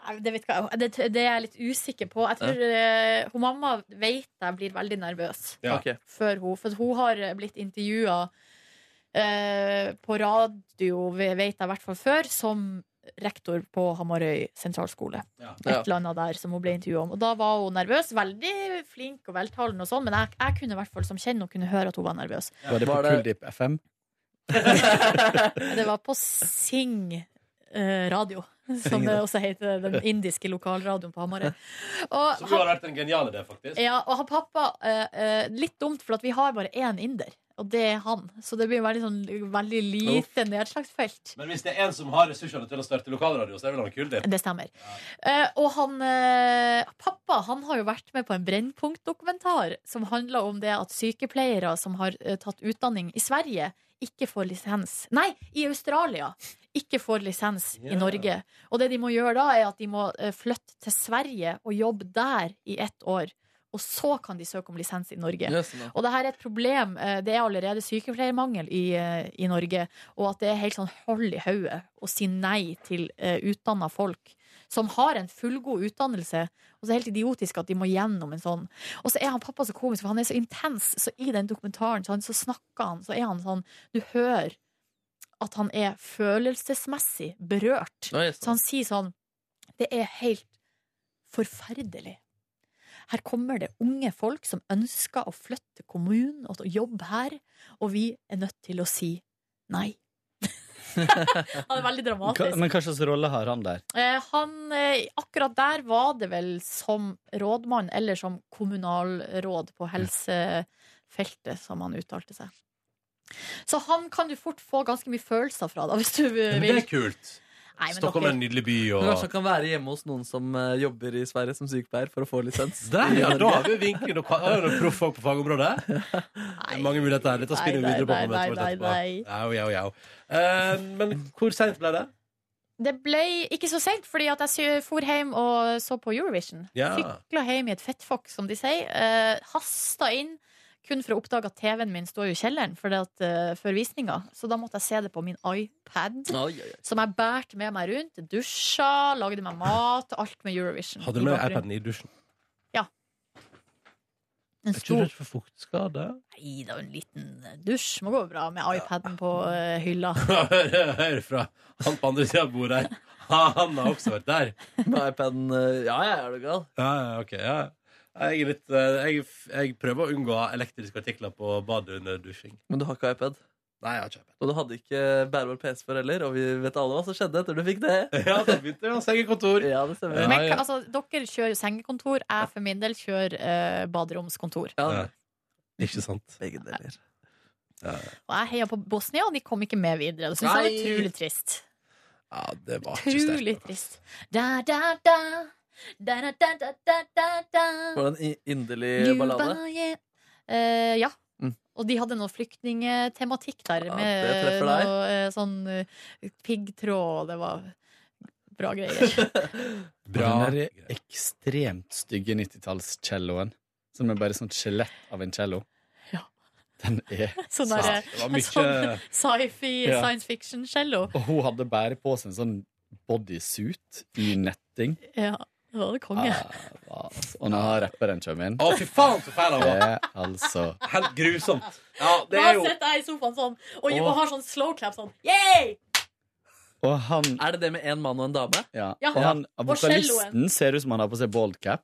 Nei, Det, vet ikke jeg. det, det er jeg litt usikker på. Jeg tror eh, hun Mamma vet jeg blir veldig nervøs Ja. Ok. før hun For hun har eh, blitt intervjua på radio, vet jeg i hvert fall før, som rektor på Hamarøy sentralskole. Et Ja. eller annet der som hun ble intervjua om. Og da var hun nervøs. Veldig flink og veltalende og sånn, men jeg, jeg kunne i hvert fall som kjenner og kunne høre at hun var nervøs. Var det på Kuldip FM? Det var på Sing eh, radio, som Sing, det ja. også heter. Den indiske lokalradioen på Hamarøy. Som Og, jo har han, vært en genial idé, faktisk. ja, og han pappa eh, eh, Litt dumt, for at vi har bare én inder, og det er han. Så det blir veldig, sånn, veldig lite nedslagsfelt. Men hvis det er en som har ressursene til å starte lokalradio, så er vel han kul, det. Det stemmer. Eh, og han eh, pappa han har jo vært med på en Brennpunkt-dokumentar som handler om det at sykepleiere som har eh, tatt utdanning i Sverige, ikke får lisens Nei, i Australia! Ikke får lisens Ja. i Norge. Og det de må gjøre da, er at de må eh, flytte til Sverige og jobbe der i ett år. Og så kan de søke om lisens i Norge. Jøssen, da. og det her er et problem. eh, Det er allerede sykepleiermangel i, eh, i Norge. Og at det er helt sånn hold i hodet å si nei til uh, utdanna folk som har en fullgod utdannelse. Og så er det helt idiotisk at de må gjennom en sånn. Og så er han pappa så komisk, for han er så intens. Så i den dokumentaren så, han, så snakker han, så er han sånn Du hører at han er følelsesmessig berørt. Oi, sant. så han sier sånn Det er helt forferdelig. Her kommer det unge folk som ønsker å flytte til kommunen og til å jobbe her, og vi er nødt til å si nei. Han er veldig Hva, dramatisk. men hva slags rolle har han der? Eh, han, eh, akkurat der var det vel som rådmann eller som kommunalråd på helsefeltet, som han uttalte seg. Så han kan du fort få ganske mye følelser fra, da, hvis du vil. Men det er kult. Nei, men Stockholm er en dere- nydelig by, Men kanskje og han kan være hjemme hos noen som eh, jobber i Sverige som sykepleier for å få lisens. Der, I ja, da Norge. har vi vinken. Da er det proff folk på fagområdet. Mange muligheter her. Litt å spinne Nei, nei, videre på. nei, momentet vårt nei, etterpå. nei. Au, jau, jau. Eh, men hvor seint ble det? Det ble ikke så sent, fordi at jeg sy- for hjem og så på Eurovision. Ja. Sykla hjem i et fettfokk, som de sier. Eh, hasta inn, kun for å oppdage at TV-en min står jo i kjelleren fordi at, eh, før visninga. Så da måtte jeg se det på min iPad, Oi, oi, oi. som jeg bærte med meg rundt. Dusja, lagde meg mat, alt med Eurovision. Hadde du i med bakgrunnen. iPaden i dusjen? En Er ikke du stor redd for fuktskade? Nei, det var en liten dusj. Må gå bra med iPaden på eh, hylla. hør, hør fra han på andre sida av bordet her. Han har også vært der. Med iPaden eh, Ja, ja, er du gal? Ja, ja, ok, ja. Jeg, er litt, eh, jeg, jeg prøver å unngå elektriske artikler på badet under dusjing. Men du har ikke iPad? Nei, jeg har ikke iPad. Og du hadde ikke bærbar PC før heller, og vi vet alle hva som skjedde etter du fikk det. Ja, da begynte jeg å senge kontor. Ja, det stemmer. Men hva- altså, dere kjører jo sengekontor. Jeg for min del kjører eh, baderomskontor. Ikke sant? Begge deler. Og jeg heia på Bosnia, og de kom ikke med videre. Det syns jeg var Nei. utrolig trist. Ja, det var ikke sterkt. Utrolig trist. Da, da, da. Var Var det en i- inderlig ballade? Eh, ja. Mm. Og de hadde noe flyktningetematikk der, Ja, det med treffer deg. noe eh, sånn eh, piggtråd, og det var bra greier. Bra. Den der ekstremt stygge 90-tallscelloen, som er bare sånn skjelett av en cello. Den er Sånn der, Ja, en sånn sci-fi, Ja. science fiction-cello. Og hun hadde bare på seg en sånn bodysuit i netting. Ja, det var det konge. Ah, og nå har rapperen kommet inn. Å, fy faen, så feil han Det var! er altså Helt grusomt. Ja, det Da er jo sitter jeg i sofaen sånn, og, Åh. og har sånn slow clap sånn. Yay! Er det det med en mann og en dame? Ja. Ja. Og han, Og vokalisten celloen. ser ut som han har på seg bald cap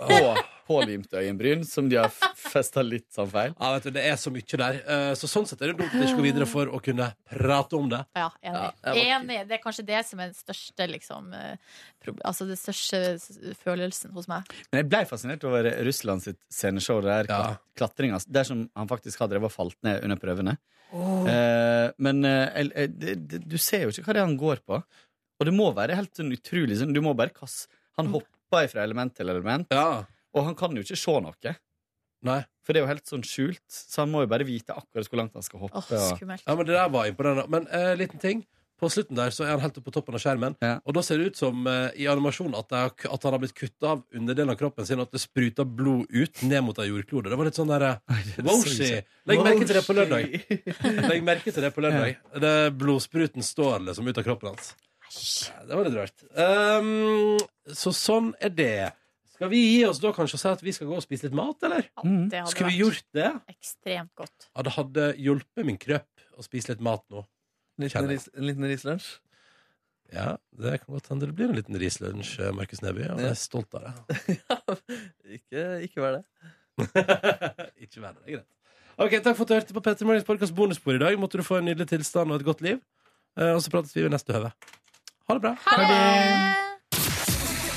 og pålimt øyenbryn, som de har festa litt sånn feil. Ja, vet du, Det er så mye der. Eh, Så sånn sett er det dumt at det ikke går videre for å kunne prate om det. Ja, enig. Ja, jeg var- enig. Det er kanskje det som er den største, liksom, eh, prob- altså den største s- følelsen hos meg. Men jeg ble fascinert over Russland sitt sceneshow der ja. klatringa Der som han faktisk har drevet og falt ned under prøvene. Åh. Eh, men eh, el- eh, det, det, du ser jo ikke hva det er han går på. Og det må være helt sånn utrolig sånn, Du må bare kaste Han hopper fra element til element, og han kan jo ikke se noe. For det er jo helt sånn skjult, så han må jo bare vite akkurat hvor langt han skal hoppe. og- Ja, men det der var imponerende. Men eh, liten ting. På slutten der så er han helt oppe på toppen av skjermen, og da ser det ut som eh, i animasjonen at, det har- at han har blitt kutta av underdelen av kroppen sin, og at det spruter blod ut ned mot ei jordklode. Det var litt sånn derre Woshi! ikke. Legg merke til det på lørdag. Woshi. Legg merke til det på lørdag. Det blodspruten står liksom ut av kroppen hans. Det var litt rart. Um, så sånn er det. Skal vi gi oss da kanskje og si at vi skal gå og spise litt mat, eller? det hadde Mm. Skulle vi vært- gjort det? Ekstremt godt. Ja, det hadde hjulpet min krøpp å spise litt mat nå. Kjenner jeg. En liten rislunsj? Ja, det kan godt hende det blir en liten rislunsj, eh, Markus Neby. Og jeg er stolt av det. Ikke, ikke vær det. Ikke vær det, det er greit. Ok, Takk for at du hørte på Petter Morgens podcast bonusbord i dag. Måtte du få en nydelig tilstand og et godt liv. Eh, Og så prates vi ved neste høve. Ha det bra.